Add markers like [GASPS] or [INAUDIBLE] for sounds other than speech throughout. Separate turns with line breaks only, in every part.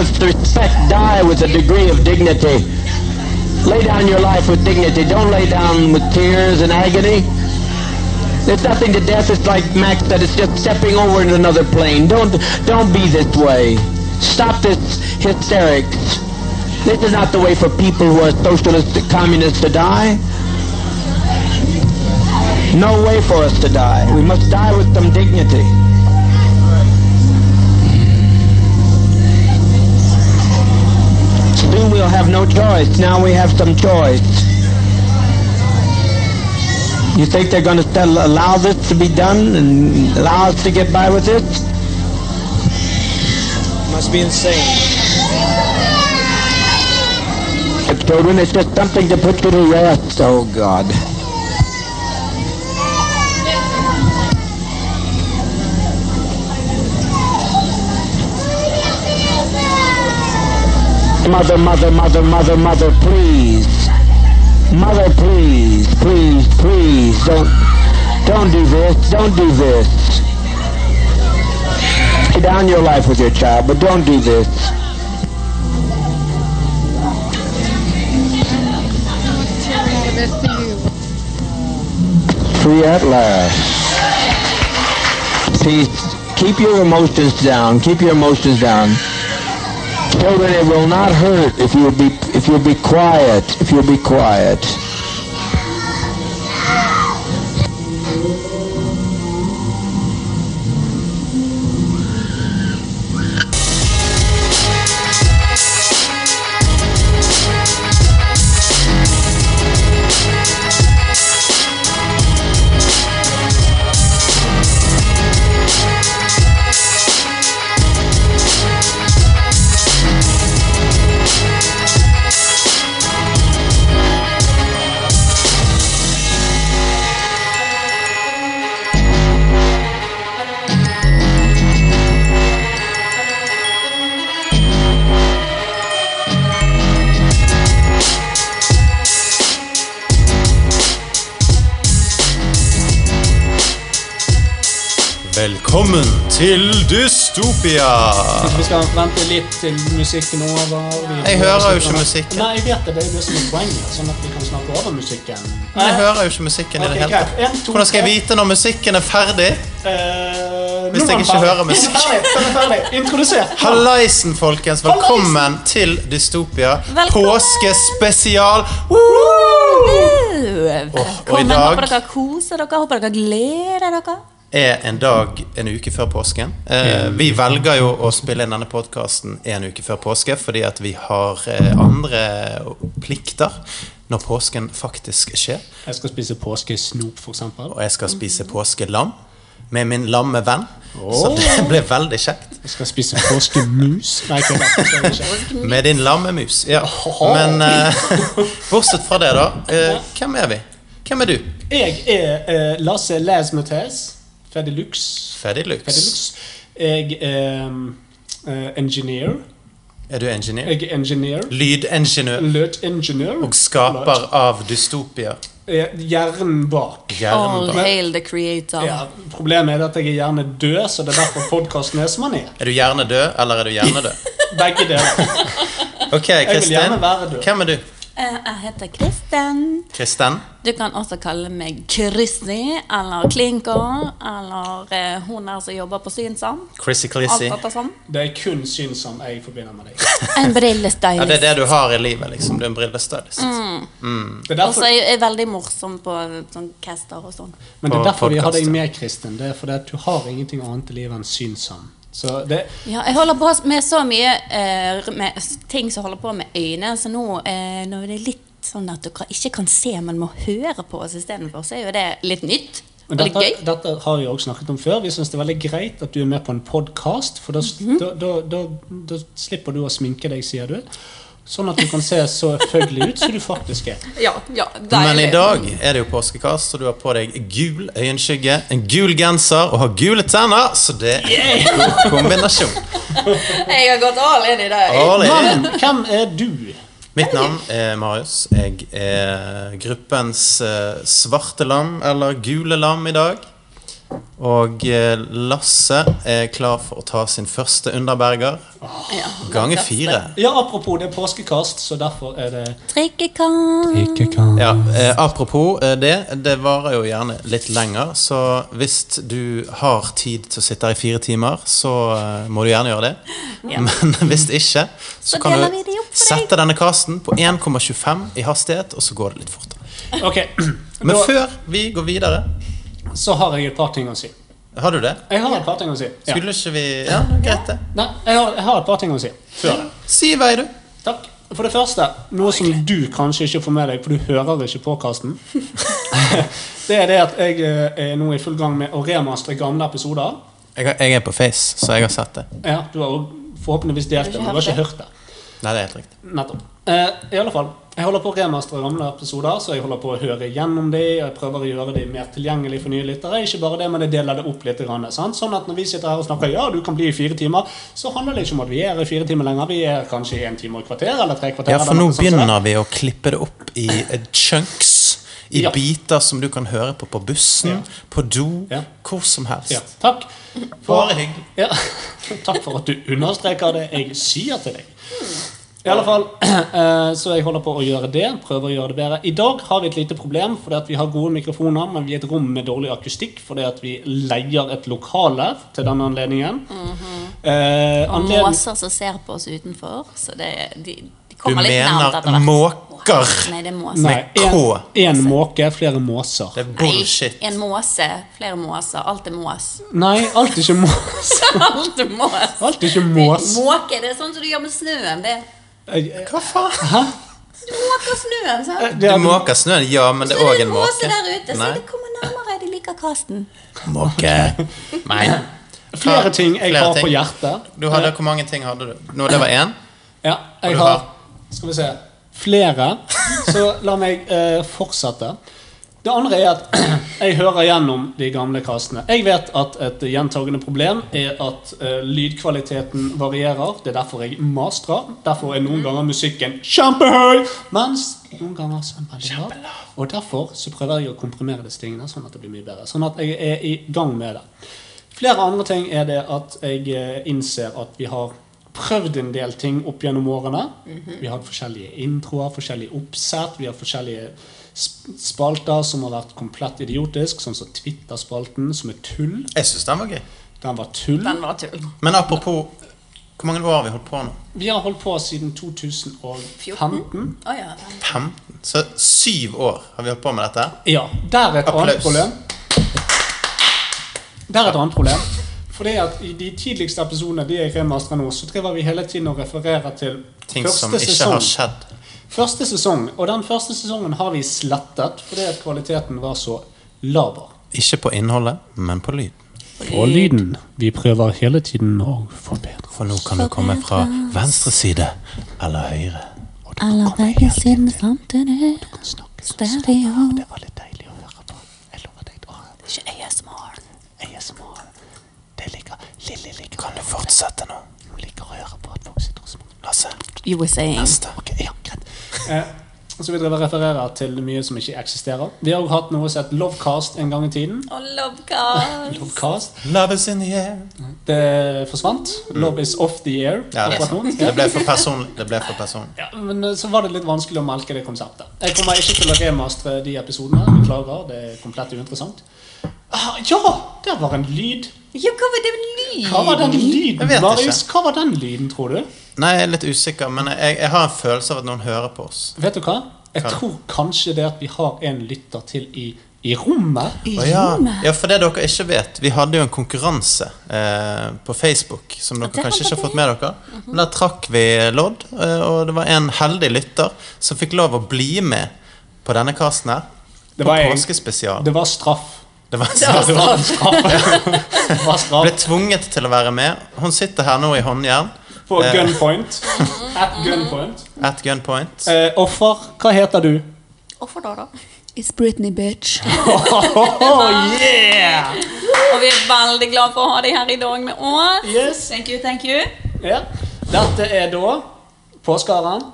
effect, die with a degree of dignity. Lay down your life with dignity. Don't lay down with tears and agony. There's nothing to death. It's like Max said. It's just stepping over into another plane. Don't don't be this way. Stop this hysterics. This is not the way for people who are socialists and communists to die. No way for us to die. We must die with some dignity. Soon we'll have no choice. Now we have some choice. You think they're going to allow this to be done and allow us to get by with it? Must be insane. Children, it's just something to put you to rest. Oh God. Mother, mother, mother, mother, mother, please. Mother, please, please, please, don't, don't do this, don't do this. Lay down your life with your child, but don't do this. Free at last. Peace. Keep your emotions down. Keep your emotions down. Children, it will not hurt if you'll be if you'll be quiet. If you'll be quiet.
Velkommen til Dystopia!
Vi skal vente litt til musikken er over. Vi
Jeg hører jo ikke musikken.
Nei, jeg vet det. Det er det som er poenget. Sånn at vi kan snakke over musikken.
Men jeg hører jo ikke musikken i det hele tatt.
En, to, eh,
Hvordan skal jeg vite når musikken er ferdig? Hvis jeg ikke hører musikk.
[LAUGHS] Ferdig, ferdig, ferdig. Introdusert.
Hallaisen, folkens. Velkommen til Dystopia.
Velkommen!
Påskespesial. og i
Velkommen.
dag-
Håper dere koser dere. Håper dere gleder dere.
Er en dag en uke før påsken. Eh, vi velger jo å spille inn denne podkasten en uke før påske fordi at vi har eh, andre plikter når påsken faktisk skjer.
Jeg skal spise påskesnop, for eksempel.
Og jeg skal spise påskelam med min lamme venn. Så det [LAUGHS] ble veldig kjekt.
Jeg skal spise påskemus. Nei, ikke det. det skal jeg ikke.
Med din lammemus. Ja. Men eh, [LAUGHS] bortsett fra det, da. eh, hvem er vi? Hvem er du?
Jeg er eh, Lasse Lesmetes. Freddy Lux.
Freddy
Freddy
Lux.
Lux. Jeg er eh, engineer.
Er du engineer?
Jeg er engineer.
Lydingeniør
Lødingeniør.
og skaper av dystopia.
Eh, Hjernen bak.
All
Hjernen bak.
hail the creator.
Ja, problemet er at jeg er gjerne død, så det er derfor podkasten er som den er.
Er du hjernedød, eller er du hjernedød?
Begge deler.
Ok,
vil
Kristin.
gjerne være død.
Hvem er du?
Eh, Jeg heter Kristen.
Kristin?
Du kan også kalle meg Chrissy eller Klinker eller eh, hun her som jobber på Synsam.
Chrissy
Alt
Clissy?
dette sånn.
Det er kun syn som jeg forbinder med deg.
En
Ja, det er
brillestylist.
det du har i livet, liksom. Du er en brillestylist.
Det er
Og så
derfor,
er jeg er veldig morsom på sånn caster og sånn.
men det er
På
derfor vi har deg
podcasten.
med, Kristin. Det er fordi at du har ingenting annet i livet enn syn som. Så det
Ja, jeg holder på med så mye eh, med s- ting som holder på med øyne, så nå eh, når det er litt sånn at dere ikke kan se, men må høre på oss istedenfor, så er jo det litt nytt. Og
men
litt
dette,
gøy.
dette har vi også snakket om før. Vi syns det er veldig greit at du er med på en podkast, for da, da, da, da, da slipper du å sminke deg, sier du. Sånn at du kan se så følgelig ut som du faktisk er.
Ja, ja,
Men i
deilig.
dag er det jo påskekast, så du har på deg gul øyenskygge, en gul genser og har gule tenner, så det er en god kombinasjon.
Jeg har gått all in i det.
All
[LAUGHS]
in.
Men hvem er du?
Mitt navn er Marius. Jeg er gruppens eh, svarte lam, eller gule lam, i dag. Og eh, Lasse er klar for å ta sin første underberger.
Ja,
Ganger fire.
Ja, apropos, det er påskekast, så derfor er det
Trikkekant.
Ja, eh, Apropos eh, det, det varer jo gjerne litt lenger. Så hvis du har tid til å sitte her i fire timer, så eh, må du gjerne gjøre det.
Ja.
Men [LAUGHS] hvis ikke, så,
Så
kan
deler vi
du
de opp for deg.
sette denne casten på 1,25 i hastighet, og så går det litt fortere.
Ok, [CLEARS THROAT]
Men
da,
før vi går videre
så har jeg et par ting å si.
Har du det?
Jeg har et par ting å si. Ja.
Skulle ikke vi Ja, greit, det.
Nei, jeg har, jeg har et par ting å si. Før det.
Si i vei, du.
Takk. For det første, noe som du kanskje ikke får med deg, for du hører ikke på Karsten. [LAUGHS] det er det at jeg eh, er nå i full gang med å remastre gamle episoder.
Jeg, har- jeg er på Face, så jeg har sett det.
Ja, Du har jo forhåpentligvis delt det, men du har ikke hørt det.
Nei, det er helt riktig.
Nettopp. Eh, I alle fall, jeg holder på å remastre gamle episoder, så jeg holder på å høre gjennom de, og jeg prøver å gjøre de mer tilgjengelig for nye lyttere. Ikke bare det, men jeg deler det opp litt. Grann, sant? Sånn at når vi sitter her og snakker ja, du kan bli i fire timer, så handler det ikke om at vi er i fire timer lenger. Vi er kanskje i en time og et kvarter, eller tre kvarter.
Ja, for
eller
nå
noe sånt som det.
begynner vi å klippe det opp i eh, chunks. I
Ja.
biter som du kan høre på på bussen,
Ja.
på do,
Ja.
hvor som helst.
Ja, takk.
Bare hyggelig.
Ja, [LAUGHS] takk for at du understreker det jeg sier til deg. I alle fall, [CLEARS THROAT] eh, Så jeg holder på å gjøre det. Prøver å gjøre det bedre. I dag har vi et lite problem, fordi at vi har gode mikrofoner, men vi er et rom med dårlig akustikk fordi at vi leier et lokale til denne anledningen. Eh,
Mhm. Og
anledning-
måser som ser på oss utenfor. Så det, de, de
Du
kommer litt nærmere etter
mener
hvert.
måker.
Nei, det er
Nei,
måser.
K.
én måke, flere måser.
Det er
Nei,
bullshit.
en måse. Flere måser. Alt er mås. [LAUGHS]
Nei, alt er ikke mås.
Alt er mås.
[LAUGHS] Alt er ikke mås.
Måke, det er sånn som du gjør med snøen. Det er-
Hva faen?
Du måker snøen, sant?
Du måker snøen, ja, men det
Så
er
er
òg
det
Eh, en
en måse
måke.
der ute, så
Nei.
de kommer nærmere. De liker kasten.
Måke. Nei.
Flere ting jeg
Flere
har på
ting.
hjertet.
Du hadde, hvor mange ting hadde du? Nå, det var én?
Ja, jeg
du
har
har?
Skal vi se Flere. Så la meg eh, fortsette. Det andre er at [CLEARS THROAT] jeg hører gjennom de gamle kastene. Jeg vet at et gjentagende problem er at eh, lydkvaliteten varierer. Det er derfor jeg mastrer. Derfor er noen ganger musikken kjempehøy, mens noen ganger så er den veldig lav. Og derfor så prøver jeg å komprimere disse tingene, sånn at det blir mye bedre. Sånn at jeg er i gang med det. Flere andre ting er det at jeg eh, innser at vi har prøvd en del ting opp gjennom årene. Vi har hatt forskjellige introer, forskjellige oppsett, vi har forskjellige sp- spalter som har vært komplett idiotisk, sånn som Twitter-spalten, som er tull.
Jeg syns den var gøy.
Den var tull.
Den var tull.
Men apropos Hvor mange år har vi holdt på nå?
Vi har holdt på siden 2015.
Å ja.
15? Så syv år har vi holdt på med dette.
Ja, der er et
Applaus.
annet problem. Der er et annet problem. Fordi at I de tidligste episodene de jeg remastrer nå, så driver vi hele tiden og refererer til
Ting
første
som ikke
sesong.
har skjedd.
Første sesong, og den første sesongen har vi slettet fordi at kvaliteten var så laber.
Ikke på innholdet, men på lyd.
Og lyden. Vi prøver hele tiden å forbedre.
For nå kan det komme fra venstre side eller høyre.
Alla vägar syns samtidigt. Stereo.
Det var litt deilig å høre på. Jeg lover deg å
Ikke ASMR.
ASMR. Det ligger Lille ligger
Kan du fortsette nå?
Hun liker å høre på at folk sitter og smaker.
Lasse,
USA.
neste.
Ja, greit. Eh, så vi driver og refererer til mye som ikke eksisterer. Vi har også hatt noe som het Lovecast en gang i tiden.
Og Lovecast.
Lovecast.
Love is in the air.
Det forsvant. Love is off the air.
Ja, det, er
akkurat nå.
sant. det ble for personlig. Det ble for personlig.
Ja, men eh, så var det litt vanskelig å melke det konseptet. Jeg kommer ikke til å remastre de episodene. Beklager, det er komplett uinteressant. Ah, ja! Der var en lyd.
Ja, hva var det med lyd?
Hva var den lyden,
Jeg vet
Marius? Hva var den lyden, tror du?
Nei, jeg er litt usikker, men jeg, jeg har en følelse av at noen hører på oss.
Vet du hva? Jeg
Hva?
tror kanskje det at vi har en lytter til i, i rommet.
Å ja. ja, for det dere ikke vet Vi hadde jo en konkurranse eh, på Facebook som dere
det
kanskje
var
ikke har fått med dere. Men Der trakk vi lodd, eh, og det var en heldig lytter som fikk lov å bli med på denne casten her.
Det
På
var en-
påskespesial.
Det altså. var straff.
Det
[LAUGHS]
var,
Det
[LAUGHS]
var en straff. Det var
ble
straff
tvunget til å være med. Hun sitter her nå i håndjern.
på gunpoint.
[LAUGHS]
At gunpoint.
At gunpoint.
Eh, offer, hva heter du?
Hvorfor da, da?
It's Britney
[LAUGHS]
bitch.
Og vi er veldig glad for å ha deg her i dag med oss.
Yes.
Thank you, thank you.
Ja. Dette er da påskeharen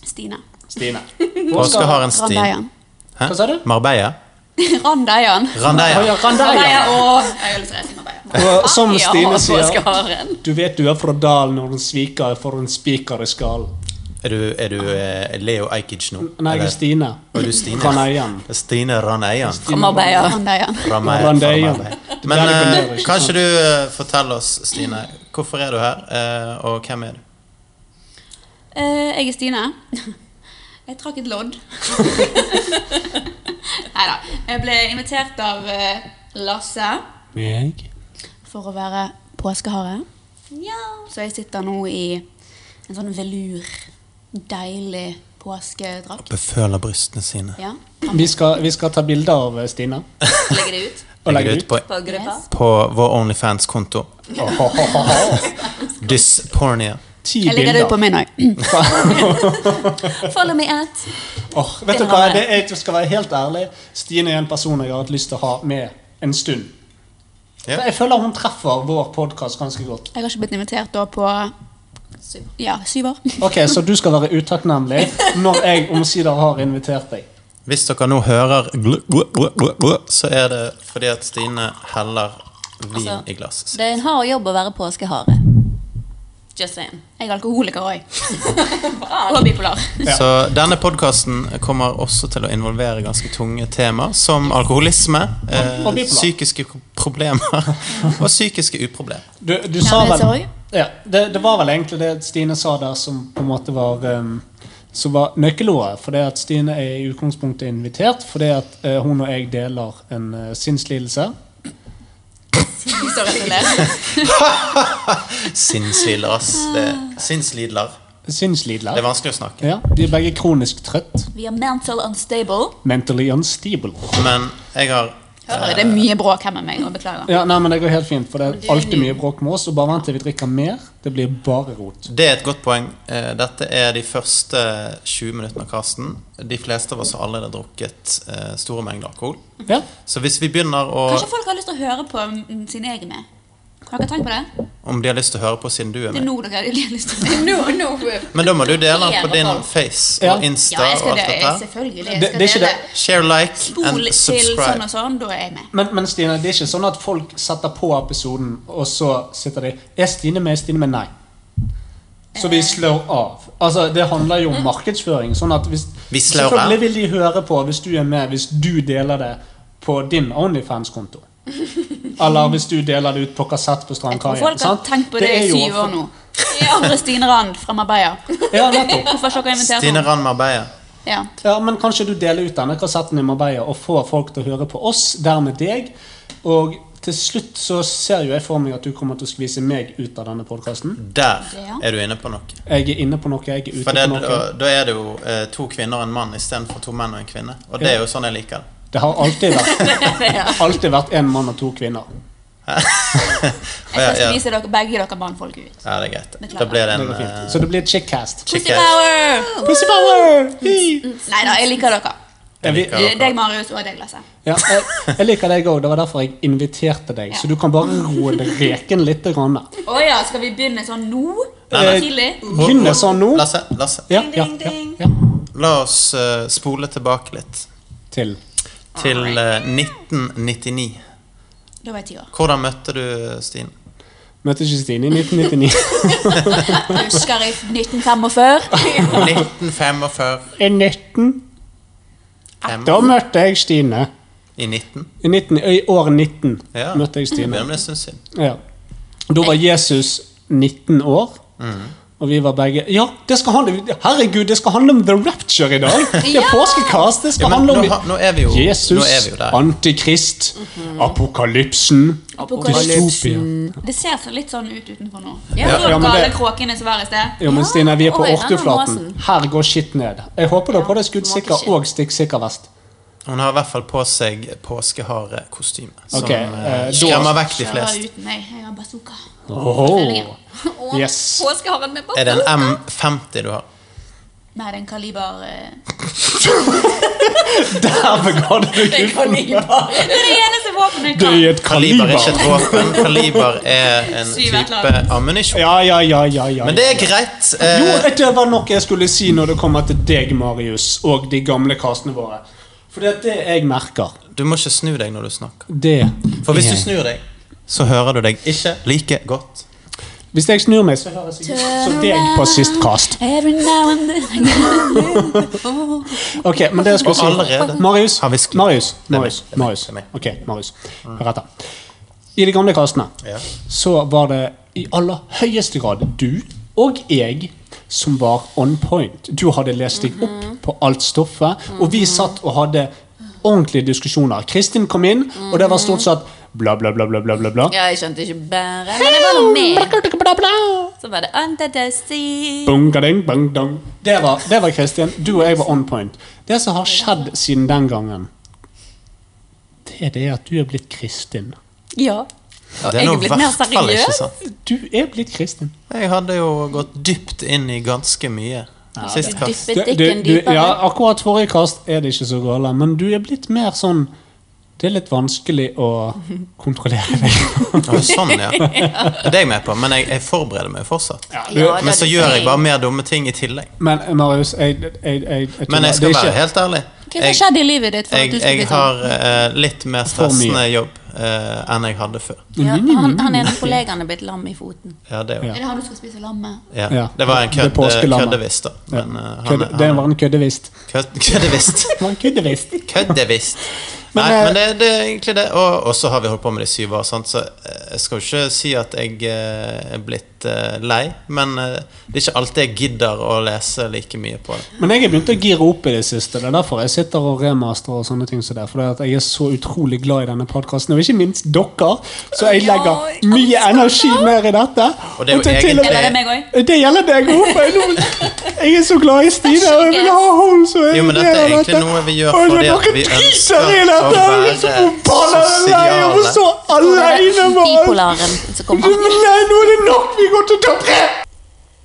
Stine.
Stine.
[LAUGHS] Påskeharen Stin.
[LAUGHS]
Grand Bayern.
Hæ?
Hva sa du?
Marbella?
Randajan.
Å
Randeia.
ja, Randeia.
Randaja og Jeg har lyst til å reise til Marbella.
Og som Stine sier
sier.
Du vet du er fra dalen når den sviker for en spiker i skallen.
Er du, er du eh, Leo Ajkic nå?
Nei, jeg
Eller-
er Stine.
Og du Stine
Raneian.
Stine Raneian.
Fra Marbella. Randajan.
Fra meg- fra
Randeia.
meg.
Det
Men
der er
eh,
belører, ikke
kanskje
sant?
du eh, forteller oss, Stine, hvorfor er du her, eh, og hvem er du?
Eh, jeg er Stine. Jeg trakk et [LAUGHS] lodd. Nei da. Jeg ble invitert av eh, Lasse
Meg?
for å være påskehare. Ja. Så jeg sitter nå i en sånn velur, deilig påskedrakt.
Beføler brystene sine.
Ja.
Vi skal, vi skal ta bilder av eh, Stine.
Legger det ut
Og
Legger
legge
det ut på,
på gruppa.
på vår
[LAUGHS]
Onlyfans-konto.
ut.
Dyspornia.
Ti
Jeg legger det ut på
bilder.
min òg.
[LAUGHS]
Follow me at.
Åh, vet du hva, det er, jeg skal være helt ærlig. Stine er en person jeg har hatt lyst til å ha med en stund.
Ja.
For Jeg føler hun treffer vår podkast ganske godt.
Jeg har ikke blitt invitert da på ja, syv år.
Ok, Så du skal være utakknemlig når jeg omsider har invitert deg.
Hvis dere nå hører glu, glu, glu, glu, glu, så er det fordi at Stine heller vin
Altså,
i glass.
Det er en hard jobb å være påskehare. Just saying. Jeg er alkoholiker òg. Og bipolar.
Så denne podkasten kommer også til å involvere ganske tunge tema som alkoholisme, eh,
og bipolar.
psykiske problemer [LAUGHS] og psykiske uproblemer.
Du, du sa
men
vel
sorry.
ja, det, det var vel egentlig det Stine sa der som på en måte var um, Som var nøkkelordet. For det at Stine er i utgangspunktet invitert fordi at eh, hun og jeg deler en eh, sinnslidelse.
Sinnslidler, ass. Det,
Ah.
sinnslidler. Det er
Sinnslidler.
vanskelig å snakke.
Ja, vi er begge kronisk trøtt.
Vi er mental unstable.
Mentally unstable.
Men jeg har
Hører, det er mye bråk her med meg, og beklager.
Ja, nei, men Det går helt fint, for det er alltid mye bråk med oss. Og bare vent til vi drikker mer. Det blir bare rot.
Det er et godt poeng. Eh, Dette er de første 20 minuttene av casten. De fleste av oss har allerede drukket eh, store mengder alkohol.
Ja,
Så hvis vi begynner å
Kanskje folk har lyst til å høre på mm, sine egne? Har dere tenkt på det?
Om de har lyst til å høre på siden du er
Det er
med.
nå dere har lyst til å no, no.
Men da må du dele den på din
Ja.
face
Ja.
og Insta
Ja, jeg
og
skal
alt
det.
dette.
Jeg, selvfølgelig. Jeg
Det-
skal
det er ikke
dele.
det.
Share, like
Spol
and
til sånn
subscribe.
og sånn, da er jeg med.
Men, men Stine, det er ikke sånn at folk setter på episoden, og så sitter de Er Stine med? Er Stine med? Nei. Så
Eh.
vi slår av. Altså, Det handler jo om markedsføring. sånn at hvis,
Vi slår av.
Selvfølgelig vil de høre på hvis du er med, hvis du deler det på din
[LAUGHS]
Onlyfans-konto. Eller hvis du deler det ut på kassett på
Jeg tror
Strandkaien.
folk har
sant?
tenkt på det,
er
i
jo-
syv år nå. Ja, Kristine Rand fra Marbella.
Ja, nettopp.
Hvorfor har ikke dere invitert
Stine
henne?
Rand Marbella.
Ja.
Ja, men kanskje du deler ut denne kassetten i Marbella og får folk til å høre på oss, dermed deg. Og til slutt så ser jo jeg for meg at du kommer til å skvise meg ut av denne podkasten.
Der
Ja.
er du inne på noe.
Jeg er inne på noe, jeg er ute
For det,
på noe.
da, da er det jo eh, to kvinner og en mann istedenfor to menn og en kvinne. Og det
Ja.
er jo sånn jeg liker det.
Det har alltid vært, alltid vært en mann og to kvinner.
Å, ja,
Jeg skal
ja.
spise dere, begge dere mannfolk ut.
ja, det er greit.
Beklager.
Da blir det
Det
en
går fint.
eh,
Så det blir et chickcast.
Pussy
Chicken.
power!
Pussy power! Hi!
Mm.
Nei da, jeg liker dere.
Jeg, vil-
Ja,
Det
dere.
er Deg, Marius, og deg, Lasse.
ja, jeg, jeg liker deg òg. Det var derfor jeg inviterte deg. Så du kan bare roe deg reken litt. Grann.
Å ja, skal vi begynne sånn nå?
Nei, nei.
Tidlig?
Begynner sånn nå.
Lasse, Lasse,
Ja, ja, ja, ja.
la oss eh, spole tilbake litt.
Til
Til eh, 1999.
Da var jeg ti år.
Hvordan møtte du Stine?
Møtte ikke Stine i 1999.
Husker i 1945.
1945.
[LAUGHS] I 19, da møtte jeg Stine.
I 19?
I, 19, i år 19
Ja.
møtte jeg Stine.
Ja, men det syns jeg.
Ja. Da var Jesus 19 år.
Mm.
Og vi var begge Ja, det skal handle, herregud, det skal handle om The Rapture i dag!
[LAUGHS]
Det er
Ja!
påskekast! Det skal
Ja, men
handle om
nå har- nå er vi jo-
Jesus,
nå er vi jo der.
Antikrist,
Mhm.
apokalypsen, dystopia.
Det ser så litt sånn ut utenfor nå.
Ja,
Ja,
ja, men
gale
det-
kråkene som var i sted.
Jo, men Stine, vi er på
Oi, den er
Ortuflaten.
måsen.
Her går skitt ned. Jeg håper du har på deg skuddsikker og stikksikker vest.
Hun har i hvert fall på seg påskehare kostyme. Som
Ok,
eh,
eh, da-
skremmer vekk de
Kjører
fleste.
uten meg. Jeg har bazooka.
Oho.
[LAUGHS] Og
Yes. [LAUGHS]
påskeharen med
Er det
bazooka.
en M50 du har?
Nei, det er en kaliber eh,
Derfor ga du deg ut for meg.
Det er det eneste våpenet jeg
Det er
kan.
et
Kaliber er
kaliber.
ikke et våpen. Kaliber er en
Syv et eller
type ammunisjon.
Ja, ja, ja, ja, ja.
Men det er greit.
Jo,
Eh,
det var noe jeg skulle si når det kommer til deg, Marius, og de gamle kastene våre. For det er det jeg merker.
Du må ikke snu deg når du snakker.
Det
For hvis
er-
du snur deg, så hører du deg ikke like godt.
Hvis jeg snur meg, så høres jeg ut som deg på sist kast.
Eh.
Every now and then I
Ok, men det jeg skulle si
Og allerede
Marius,
har vi sklidd.
Marius,
er meg,
Marius,
det er meg,
Marius.
det er meg.
Ok, Marius. Hør etter. I de gamle kastene
Ja.
så var det i aller høyeste grad du og jeg som var on point. Du hadde lest deg opp på alt stoffet, og vi satt og hadde ordentlige diskusjoner. Kristin kom inn, og det var stort sett bla, bla, bla, bla, bla, bla. bla.
[LAUGHS] Ja, jeg skjønte ikke bare, men jeg var nå med. Så var det under the sea.
Bung, gading, bung, dong. Det var, det var Kristin. Du og jeg var on point. Det som har skjedd siden den gangen, det er det at du er blitt Kristin.
Ja.
Det
jeg
nå
er blitt mer
hvert fall ikke
seriøs.
sant.
Du er blitt Kristin.
Jeg hadde jo gått dypt inn i ganske mye sist kast.
Dyppet dikken
du, ja,
dypere.
akkurat forrige kast er det ikke så gale, men du er blitt mer sånn Det er litt vanskelig å
[LAUGHS]
kontrollere deg.
Ja, Sånn, ja. Det er jeg med på, men jeg, jeg forbereder meg fortsatt.
Ja, det
Men så
er
gjør jeg
det.
bare mer dumme ting i tillegg.
Men Marius, jeg, jeg, jeg, jeg, jeg
Men jeg skal
det er
være
ikke-
helt ærlig.
Hva har skjedd i livet ditt for at
Jeg,
du skal bli
jeg
sånn?
har eh, litt mer stressende jobb eh, enn jeg hadde før.
Ja,
Mm,
han, han ene kollegaen er blitt lam i foten.
Ja, det, er jo-
Er det han du skal spise lam med?
ja.
Ja.
det var en kødd,
Det er påskelammet.
køddeviss, da. Men, eh, han-
kødde, Det
han-
var en køddevist.
kødd-
[LAUGHS]
Køddevisst.
Det var en køddevist.
Køddevisst.
Men,
Nei,
eh,
men det, det er egentlig det. Og, og så har vi holdt på med det i syv år, sant? så eh, jeg skal jo ikke si at jeg eh, er blitt eh, lei. Men eh, det er ikke alltid jeg gidder å lese like mye på det.
Men jeg har begynt å gire opp i det siste. Det er derfor jeg sitter og remasterer og sånne ting som det. For det er at jeg er så utrolig glad i denne podkasten, og ikke minst dere. Så jeg legger
Ja, jeg
mye energi mer i dette.
Og det er jo
til- til
egentlig-
Det
og
var det
med-
meg òg.
det gjelder deg
[LAUGHS]
òg. Jeg er så glad i Stine, og jeg vil ha henne som er
Jo, men dette er egentlig noe vi gjør fordi at vi ønsker
ønsker i dette.
å
Jeg er så
være
forbanna lei av å
sosiale.
stå alene med alt.
Bipolaren som kom opp.
Nei, nå er det nok. Vi går til topp tre.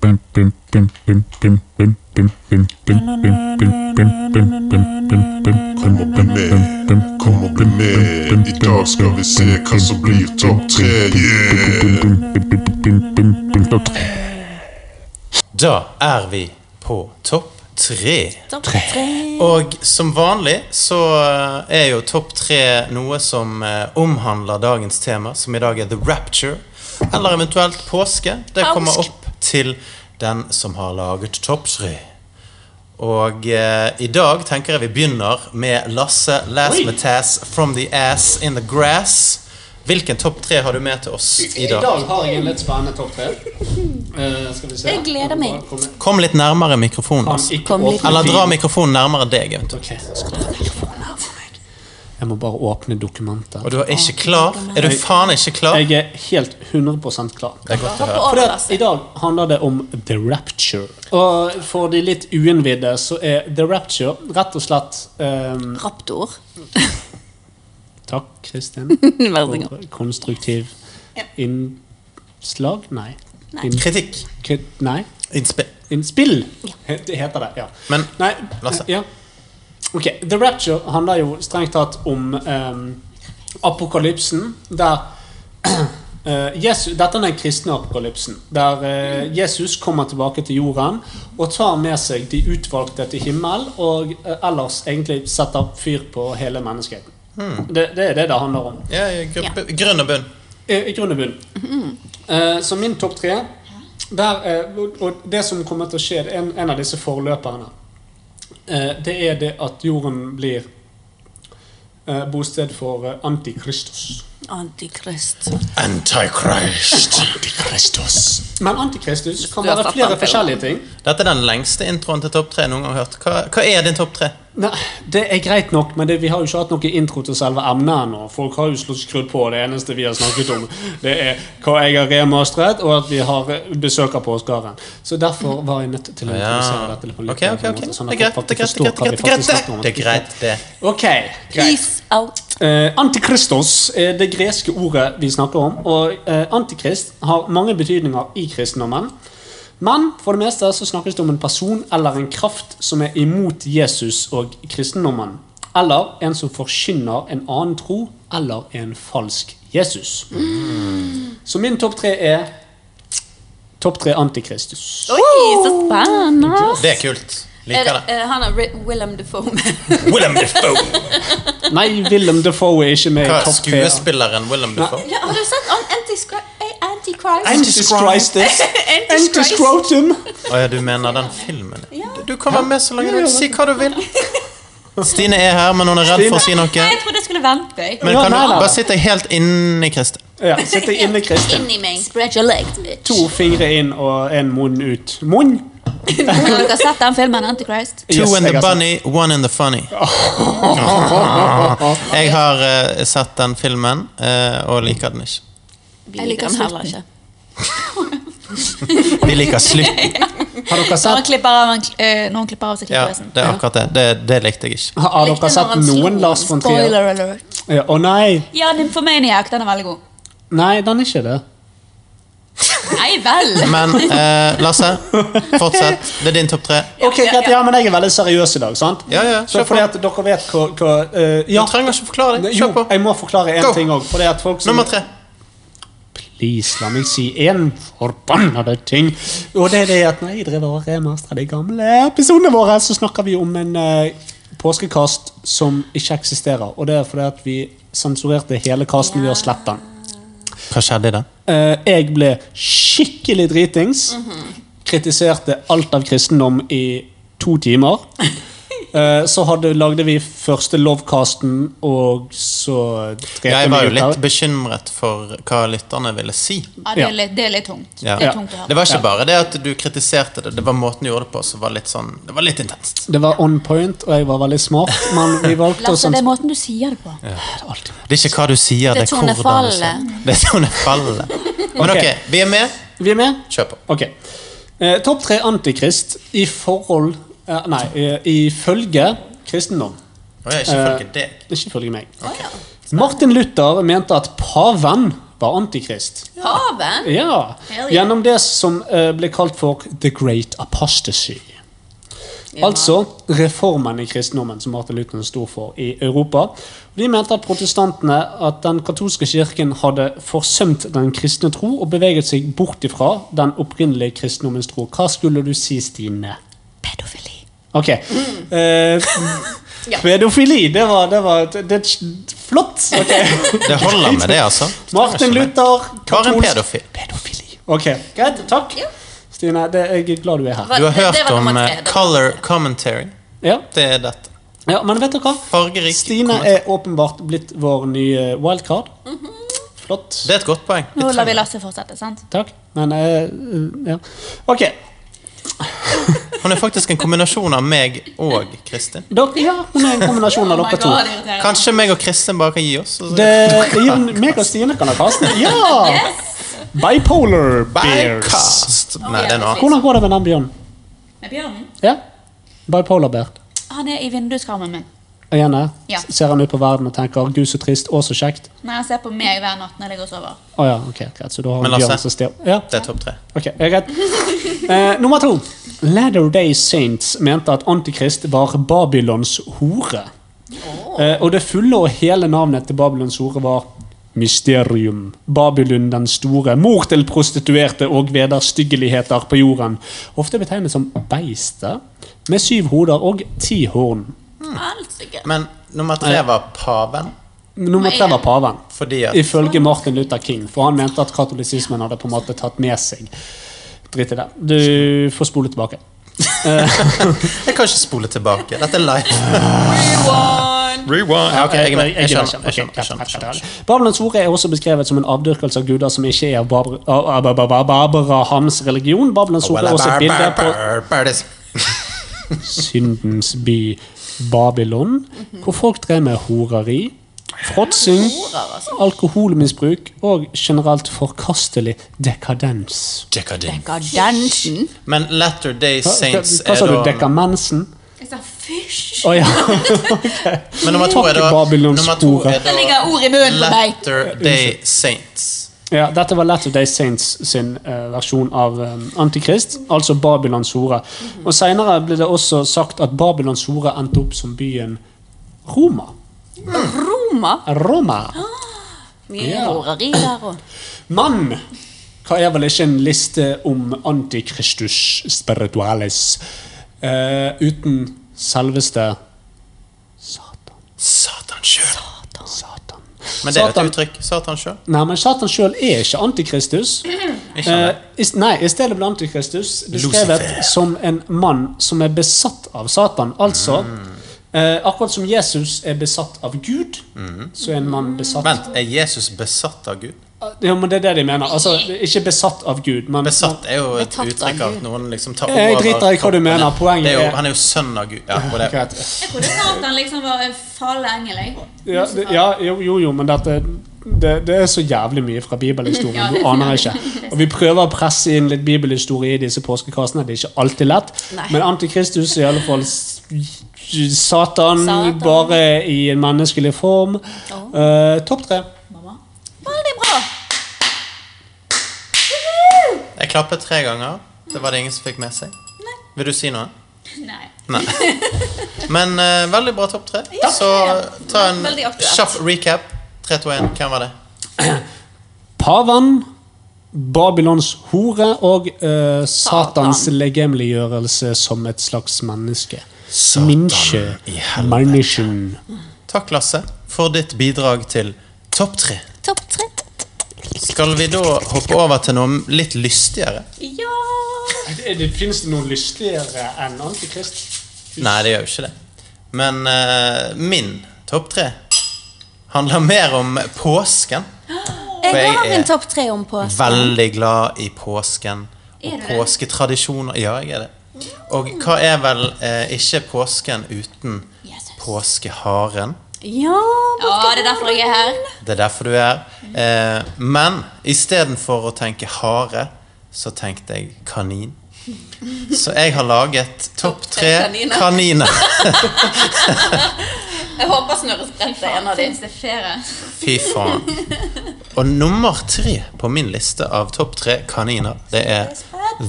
Bim bim bim bim bim bim bim bim bim bim bim bim bim bim bim bim
Kom og bli med, kom og bli med. I dag skal vi se hva som blir topp tre. Yeah!
Da er vi på topp tre.
Topp tre.
Og som vanlig så eh, er jo topp tre noe som eh, omhandler dagens tema, som i dag er The Rapture. Eller eventuelt påske. Det kommer
Påsk.
opp til den som har laget topp tre. Og eh, i dag tenker jeg vi begynner med Lasse Lasmetass From The Ass In The Grass. Hvilken topp tre har du med til oss i dag?
har jeg en litt spennende topp tre. Eh, skal vi se.
Jeg gleder meg.
Kom- kom-
Kom litt nærmere mikrofonen.
kom-
Lasse.
ikke
Kom litt-
åpne
Eller dra
bilen.
mikrofonen nærmere deg. eventuelt.
Ok, skru av mikrofonen her for meg. Jeg må bare åpne dokumentet.
Og du er ikke klar? Er du faen ikke klar?
Jeg er helt 100 klar.
Det er godt å høre.
Hoppe
For
over,
det, at I
Lasse.
dag handler det om The Rapture. Og for de litt uinnvidde så er The Rapture rett og slett ehm,
Raptor. [LAUGHS]
Takk, Kristin,
Vær så god.
for konstruktiv innslag? Nei.
Nei.
Inn,
Kritikk.
kri- nei.
Innspill.
Innspill! Det heter det, ja.
Men
Nei,
Lasse.
ja. Ok, The Rapture handler jo strengt tatt om ehm, apokalypsen, der [CLEARS THROAT] eh, Jesus, Dette er den kristne apokalypsen, der eh, Jesus kommer tilbake til jorden og tar med seg de utvalgte til himmel, og eh, ellers egentlig setter fyr på hele menneskeheten. Det, det er det det handler om.
ja, ja, gr grunn og bunn.
I i grunn og bunn. Eh, så min topp tre der, eh, og- Og det som kommer til å skje, det er en, en av disse forløperne. Eh, det er det at jorden blir eh, bosted for eh, Antikristus.
Antikrist.
Antichrist.
Men Antikristus kan
Du har
være
tatt
flere
den feil.
forskjellige ting.
Dette er den lengste introen til topp tre jeg noen gang har hørt. Hva, hva er din topp tre?
Nei, Det er greit nok, men det, vi har jo ikke hatt noe intro til selve emnet ennå. Folk har jo slått skrudd på. Det eneste vi har snakket om, det er hva jeg har remastret, og at vi har eh, besøk av påskeharen. Så derfor var jeg nødt til å
Ja.
introdusere dette litt på
Ok,
en litt
ok,
bedre
ok.
måte, sånn
Det er
at
greit,
folk
det er greit, det
faktisk forstår hva
er
vi
greit,
faktisk
det er greit, det er
snakker om.
greit. Det er greit, det.
Ok, greit.
Peace out.
Eh, Antikristos er det greske ordet vi snakker om, og eh, antikrist har mange betydninger i kristendommen. Men for det meste så snakkes det om en person eller en kraft som er imot Jesus og kristendommen. Eller en som forkynner en annen tro eller en falsk Jesus. Så min topp tre er topp tre antikristus.
Oi, så spennende.
Det er kult.
Er
Liker
det,
det.
eh, han har Ri- Willem Dafoe med.
Willem Defoe!
Nei, Willem Defoe er ikke med
Hva
i
er
topp tre.
skuespilleren Willem Defoe?
ja, har du sett han Anticri- eh, Antichrist?
Antiscrisis.
[LAUGHS] Antichrist.
Antiscrotum.
Å ja, du mener den filmen? Du kan være med så lenge du vil. Si hva du vil. Stine er her, men hun er redd for å si noe.
Nei, jeg trodde jeg skulle vente. jeg.
Men
Ja,
kan du
nei, nei, nei.
bare sitte helt inni Kristin?
Ja, sitter inne, Kristin.
Inn i meg. Spread your legs, bitch.
To fingre inn og en munn ut. Munn?
Har dere sett den filmen Antichrist?
Two
Yes,
in
jeg
the
har
bunny,
sett.
one in the
[LAUGHS]
funny. Jeg har eh, sett den filmen, eh, og liker den ikke.
Jeg liker han heller ikke.
Vi liker slutten.
Har dere
Når han
sett,
klipper av, en- eh, når han klipper av seg
[LAUGHS] Ja,
klitorisen.
det er akkurat det. Det, det likte jeg ikke.
har, har dere
Likte når
sett
han slo
noen Lars von Trier?
Spoiler alert.
Ja, Å nei.
Ja, Nymphomaniac. Den er veldig god.
Nei, den er ikke det.
Nei vel!
Men eh, Lasse, fortsett. Det er din topp tre.
Ok, greit, ja, men jeg er veldig seriøs i dag, sant?
Ja, ja,
Så
kjør på.
fordi at dere vet hva, hva eh,
Du
ja.
trenger ikke forklare det.
Jo,
Kjør på.
jeg må forklare én
Go.
ting òg.
Nummer tre.
Please, la meg si én forbannede ting. Og det er det at når jeg driver og remastrer de gamle episodene våre, så snakker vi om en eh, påskekast som ikke eksisterer. Og det er fordi at vi sensurerte hele kasten ved å slette den.
Hva skjedde i den?
Eh, jeg ble skikkelig dritings. Kritiserte alt av kristendom i to timer. Eh, så hadde, lagde vi første Lovecasten, og så drepte
Jeg
meg
var jo
ut av-
litt bekymret for hva lytterne ville si.
Ja, det
Ja.
er litt, det er litt tungt.
Ja.
Det er tungt å høre.
Det var ikke bare det at du kritiserte det, det var måten du gjorde det på som var litt sånn Det var litt intenst.
Det var on point, og jeg var veldig smart, men
[LAUGHS]
vi valgte
[LAUGHS]
å
Lasse, det
sånn-
er
sens-
måten du sier det på.
Alltid.
Det er ikke hva du sier, det
Det
er
er
hvordan du sier det.
tonefallet.
Det er
[LAUGHS]
tonefallet. Men
Ok.
ok, vi er med.
Vi er med?
Kjør på.
Ok. Eh, Topp tre antikrist i forhold eh, Nei, eh, ifølge kristendom.
Å, jeg er ikke
Eh,
følge deg.
Ikke ifølge meg. Martin Luther mente at paven var antikrist.
Paven?
Ja.
Hell yeah.
Gjennom det som eh, ble kalt for The Great Apostasy. Altså reformen i kristendommen som Martin Luther sto for i Europa. De mente at protestantene at den katolske kirken hadde forsømt den kristne tro og beveget seg bort ifra den opprinnelige kristendommens tro. Hva skulle du si, Stine?
Pedofili. Mm.
Ok.
[LAUGHS]
Eh, pedofili, det var, det var det, det, Flott!
[LAUGHS]
ok.
Det holder med det, altså.
Eh, [LAUGHS] Martin Luther,
Bare en
katolsk
pedofil.
Pedofili. Ok, greit. Takk. Stine, det, jeg er glad du er her.
Hva-
Du har
det- det
hørt
var
om
nummer
eh,
tre, det var
color
nummer tre.
commentary.
Ja,
Det er dette.
ja Men vet dere hva?
Fargerik
Stine
kommentar.
er åpenbart blitt vår nye wildcard. Flott.
Det er et godt poeng. Vi
Nå lar vi
trenger det.
Lasse fortsette, sant?
Takk. Men eh, eh, ja. Ok.
Hun er faktisk en kombinasjon av meg og Kristin.
Dere, ja, hun er en kombinasjon
Oh
av dere to.
Kanskje meg og Kristin bare kan gi oss? og så-
Det, jo, meg og Stine kan ha kasten. Ja! Bipolar bears.
Bycast. Nei, det er noe annet.
Hvordan går det med den bjørnen?
Med bjørnen?
Ja? Bipolar bear.
Han Ah, er i vinduskarmen min.
Igjen her.
Ja.
Ser han ut på verden og tenker 'gud, så trist, og så kjekt'?
Nei, han ser på meg hver natt når jeg ligger og sover.
Å ja, ok, greit. Så da har
Men
han
Lasse-
bjørn som stil. Ja.
Det er topp tre.
Ok, jeg er redd. Eh, nummer to. Latter Day Saints mente at Antikrist var Babylons hore. Eh, og det fulle og hele navnet til Babylons hore var Mysterium. Babylon den store. Mor til prostituerte og vederstyggeligheter på jorden. Ofte betegnet som beistet, med syv hoder og ti horn.
Helsike.
Men nummer tre var paven.
Nummer tre var paven.
Fordi at
Ifølge Martin Luther King, for han mente at katolisismen hadde på en måte tatt med seg Drit i det. Du får spole tilbake.
Jeg kan ikke spole tilbake. Dette er live. Rewind. Ja, ok, jeg, er med. jeg, skjønner. Jeg skjønner, jeg skjønner, jeg skjønner.
Babylons hore er også beskrevet som en avdyrkelse av guder som ikke er av Babra- av- av- av- av- Abrahams religion. Babylons hore er også et bilde på syndens by Babylon, hvor folk drev med horeri, fråtsing, alkoholmisbruk og generelt forkastelig dekadens.
Gardansen.
Men Latter Day
Hva,
Saints
hva
er
sa du?
da
Dekamensen?
Jeg sa fysj!
Å ja.
Men nummer to er da
Babylons
Nummer to
hore.
er
Det
da
ligger ord i munnen på meg.
Latter Day Saints.
Ja, dette var Latter Day Saints sin eh, versjon av eh, Antikrist, altså Babylons hore. Og Senere ble det også sagt at Babylons hore endte opp som byen Roma.
Roma.
Roma.
Mye
Ja.
horeri der og
Mann! Hva er vel ikke en liste om antikristus spiritualis? eh, uten selveste Satan.
Satan sjøl.
Satan.
Men det er jo
Satan.
et uttrykk. Satan sjøl.
Nei, men Satan sjøl er ikke Antikristus.
Ikke
Eh,
det.
i, nei, i stedet ble Antikristus
Lucifer.
beskrevet som en mann som er besatt av Satan. Altså
Mm.
eh, Akkurat som Jesus er besatt av Gud, så er en mann besatt
Mm. Vent, er Jesus besatt av Gud?
Ja, men Det er det de mener. Altså, Ikke besatt av Gud, men
Besatt er jo et
Betatt av
uttrykk av
Gud.
noen liksom tar
Jeg driter i hva du
kroppen.
mener, poenget
det er jo,
er-
Han er jo sønn av Gud. Ja, og det,
Greit.
Jeg trodde Satan liksom var en falleengel, jeg.
Ja, det- ja jo, jo, jo, men dette det, det er så jævlig mye fra
[LAUGHS]
bibelhistorien. Du aner ikke. Og Vi prøver å presse inn litt bibelhistorie i disse påskekassene. Det er ikke alltid lett.
Nei.
Men Antikristus er i alle fall s- Satan,
Satan.
bare i en menneskelig form. Eh, Topp tre.
Mamma.
Veldig bra!
jeg klappet tre ganger. Det var det ingen som fikk med seg. Vil du si noe?
Nei.
Men eh, veldig bra topp tre. Så ta en
Veldig aktuelt.
kjapp recap. 3, 2, 1. Hvem var det?
Paven, Babylons hore og eh, Satans
Satan.
legemliggjørelse som et slags menneske.
Satan
Menneske.
i helvete.
Mennesken.
Takk, Lasse, for ditt bidrag til topp tre.
Topp tre.
Skal vi da hoppe over til noe litt lystigere?
Ja!
Det, det Fins det noe lystigere enn Antikrist?
Nei, det gjør jo ikke det. Men eh, min topp tre handler mer om
[GASPS]
påsken. For
Jeg
jeg
har
er-
en topp tre om påsken.
Veldig glad i påsken
Er du
og
det?
påsketradisjoner. Ja, jeg er det. Og hva er vel eh, ikke påsken uten påskeharen?
Ja,
Ja, det er derfor jeg er her.
Det er derfor du er her. Eh, men istedenfor å tenke hare, så tenkte jeg
[LAUGHS]
kanin. Så jeg har laget topp tre
kaniner.
kaniner.
jeg håper snørresprent er en av de.
Fins det flere?
Fy faen. Og nummer tre på min liste av topp tre kaniner, det er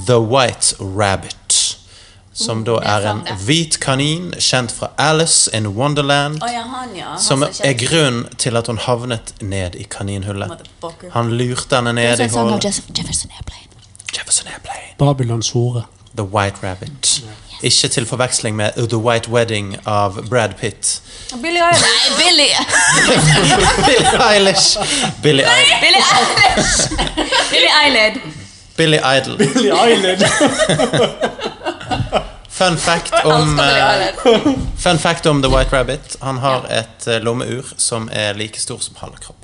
The White Rabbit. Som da
er
er en
sant, det.
hvit kanin kjent fra Alice in Wonderland.
Å ja, han, ja. Han
Som
som
er
ikke-
grunnen til at hun havnet ned i kaninhullet.
Motherfucker.
Han lurte henne ned i
Sånn som når
hullet.
Joseph Jefferson Airplane.
Jefferson Airplane.
Babylons hore.
The White Rabbit. Ikke til forveksling med The White Wedding av Brad Pitt. [LAUGHS]
Billy Eilish. Nei, Billy
Billie Eilish. Billie, Eil-
Billy Eilish! Billy Eilid.
Billie Idol.
Billy
[LAUGHS]
Eilish.
Fun
[LAUGHS]
fact om eh, [LAUGHS] Fun fact om The White Rabbit. Han har et eh, lommeur som er like stor som halve kroppen.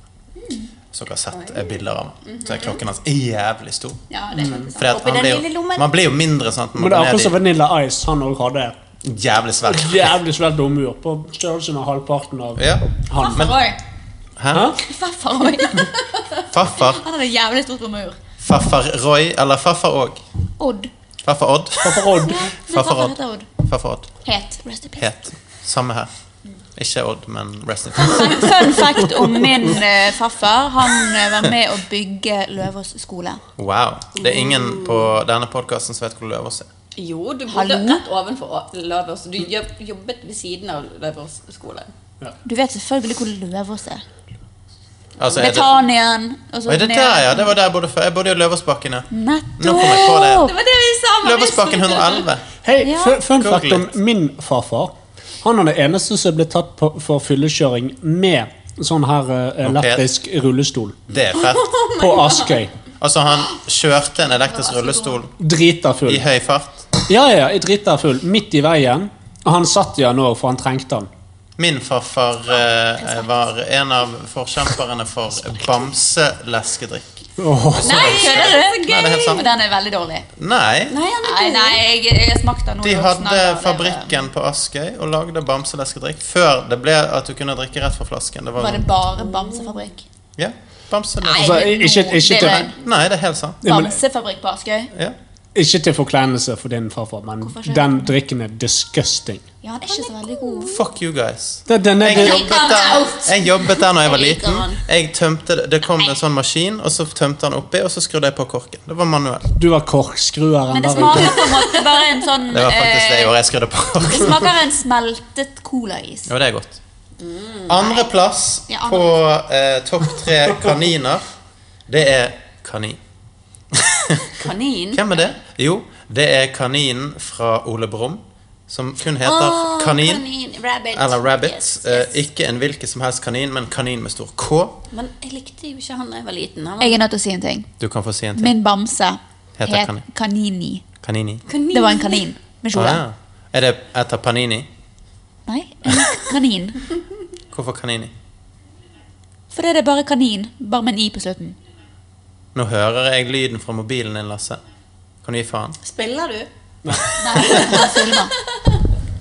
Så dere har sett eh, bilder av ham. Så er klokken hans jævlig stor.
Ja, det er faktisk sant.
Fordi at
Mhm. Oppi
han
den
blir
lille
jo,
lommen.
man blir jo mindre sant, når
Men det er
man går
akkurat som
ned
Vanilla Ice han òg hadde.
i jævlig svær
[LAUGHS] Jævlig svært lommeur. På størrelsen av halvparten av
ja.
han.
Men,
Farfar òg.
hæ?
Farfar
[LAUGHS]
òg.
Farfar
Han hadde jævlig stort romur.
Farfar Roy, eller farfar òg.
Odd.
Farfar Odd.
For Odd.
Nei,
Farfar
farfar
Odd.
heter Odd.
Farfar Odd.
Het. Rest in peace.
Het. Samme her. Ikke Odd, men Rest in Peace.
Fun fact om min eh, farfar. Han eh, var med å bygge Løvås skole.
Wow. Det er ingen på denne podkasten som vet hvor Løvås er.
Jo, du bodde
Hallo?
rett ovenfor Løvers. Du jobb- jobbet ved siden av Løvers skole.
Du vet selvfølgelig hvor Løvås er.
Altså, er det,
Betanien. Og så
Oi, det
ned.
der, ja. Det var der jeg bodde før. Jeg bodde i Løvåsbakken, ja. Nå kom jeg på
Nettopp!
det.
var det vi sa!
Løvåsbakken 111.
Hei,
Ja.
fun- fun fact
Google
om min farfar. Han er den eneste som ble tatt på, for fyllekjøring med sånn her eh, elektrisk rullestol.
Det er fett.
På Askøy.
Altså, han kjørte en elektrisk rullestol
Drita
i
full.
høy fart.
Ja, ja, jeg drita full. Midt i veien. Og han satt i han òg, for han trengte han.
Min farfar eh, var en av forkjemperne for bamseleskedrikk.
Åh.
Nei, kødder du?
Nei, det er helt sant.
Den er veldig dårlig.
Nei.
Nei, nei, jeg, jeg smakte den. nå
De
i voksen
hadde
alder. Det var-
fabrikken på Askøy og lagde bamseleskedrikk før det ble at du kunne drikke rett fra flasken. Det var,
Var det bare bamsefabrikk?
Ja, bamseleskedrikk.
Altså, ikke, ikke,
Det
til,
er
Nei, det er helt sant.
Ja, men-
Bamsefabrikk på Askøy?
Ja.
ikke til forkleinelse for din farfar, men
ikke?
den drikken er disgusting.
Ja, den er ikke så veldig god.
Fuck you guys.
Det, den er
Jeg
det,
jobbet der, jeg jobbet der når jeg var
Jeg liker
liten.
han.
Jeg tømte, det- det kom en sånn maskin, og så tømte han oppi, og så skrudde jeg på korken. Det var manuell.
du var korkskrueren
Men det
der ute.
smaker på en måte bare en sånn
Det var faktisk det jeg
eh,
gjorde. Jeg skrudde på
det
korken.
smaker en smeltet colais.
Jo, det er godt. Andreplass
Ja, andre
på eh, topp tre kaniner, det er kanin.
Kanin.
Hvem er det? Jo, det er kaninen fra Ole Brumm. som kun heter
Åh,
kanin,
rabbit.
eller rabbit.
Yes,
Eh,
yes.
ikke en hvilken som helst kanin, men kanin med stor K.
Men jeg likte jo ikke han da jeg var liten. Han var
Jeg er nødt til å si en ting.
Du kan få si en til.
Min bamse
Heter
het
kanin.
Kanini.
Kanini.
kanin.
Det var en kanin med
Ah,
kjole.
ja. Er det etter Panini?
Nei, en kanin.
Hvorfor Kanini?
For det er bare kanin, bare med en i på slutten.
Nå hører jeg lyden fra mobilen din, Lasse. Kan du gi faen?
Spiller du?
Nei, han filmer.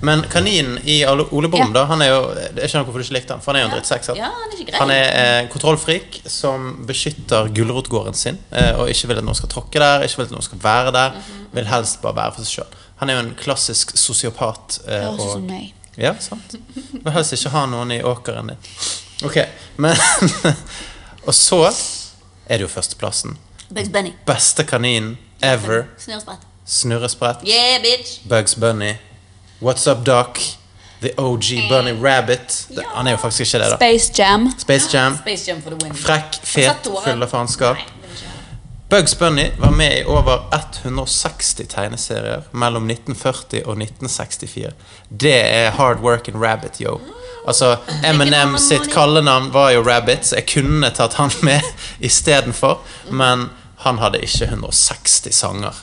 Men kaninen i Ole Ole Brumm,
Ja.
da, han er jo Jeg skjønner hvorfor du ikke likte han, for han er jo en drittsekk. sant?
Ja, han er ikke grei.
Han er eh, kontrollfrik som beskytter gulrotgården sin. Eh, og ikke vil at noen skal tråkke der, ikke vil at noen skal være der. Vil helst bare være for seg sjøl. Han er jo en klassisk sosiopat. Eh,
Høres ut som
og,
meg.
ja, sant. Vil helst ikke ha noen i åkeren din. Ok, men [LAUGHS] Og så er det jo førsteplassen.
Bugs Bunny.
Beste kaninen ever.
Snurrsprett.
Snurresprett.
Yeah, bitch.
Bugs Bunny, What's Up Doc, The OG Bunny Rabbit Det- Han er jo faktisk ikke det, da.
Eh, Space Jam.
Space Jam.
Space Jump for the win.
Frekk,
Jeg satt
fet,
to år.
full av faenskap.
Nei, det vil ikke jeg.
Bugs Bunny var med i over 160 tegneserier mellom 1940 og 1964. Det er hard working rabbit, yo.
Mm.
Altså, Eminem sitt kallenavn var jo Rabbit, så jeg kunne tatt han [LAUGHS] med istedenfor.
Mm.
Men han hadde ikke 160 sanger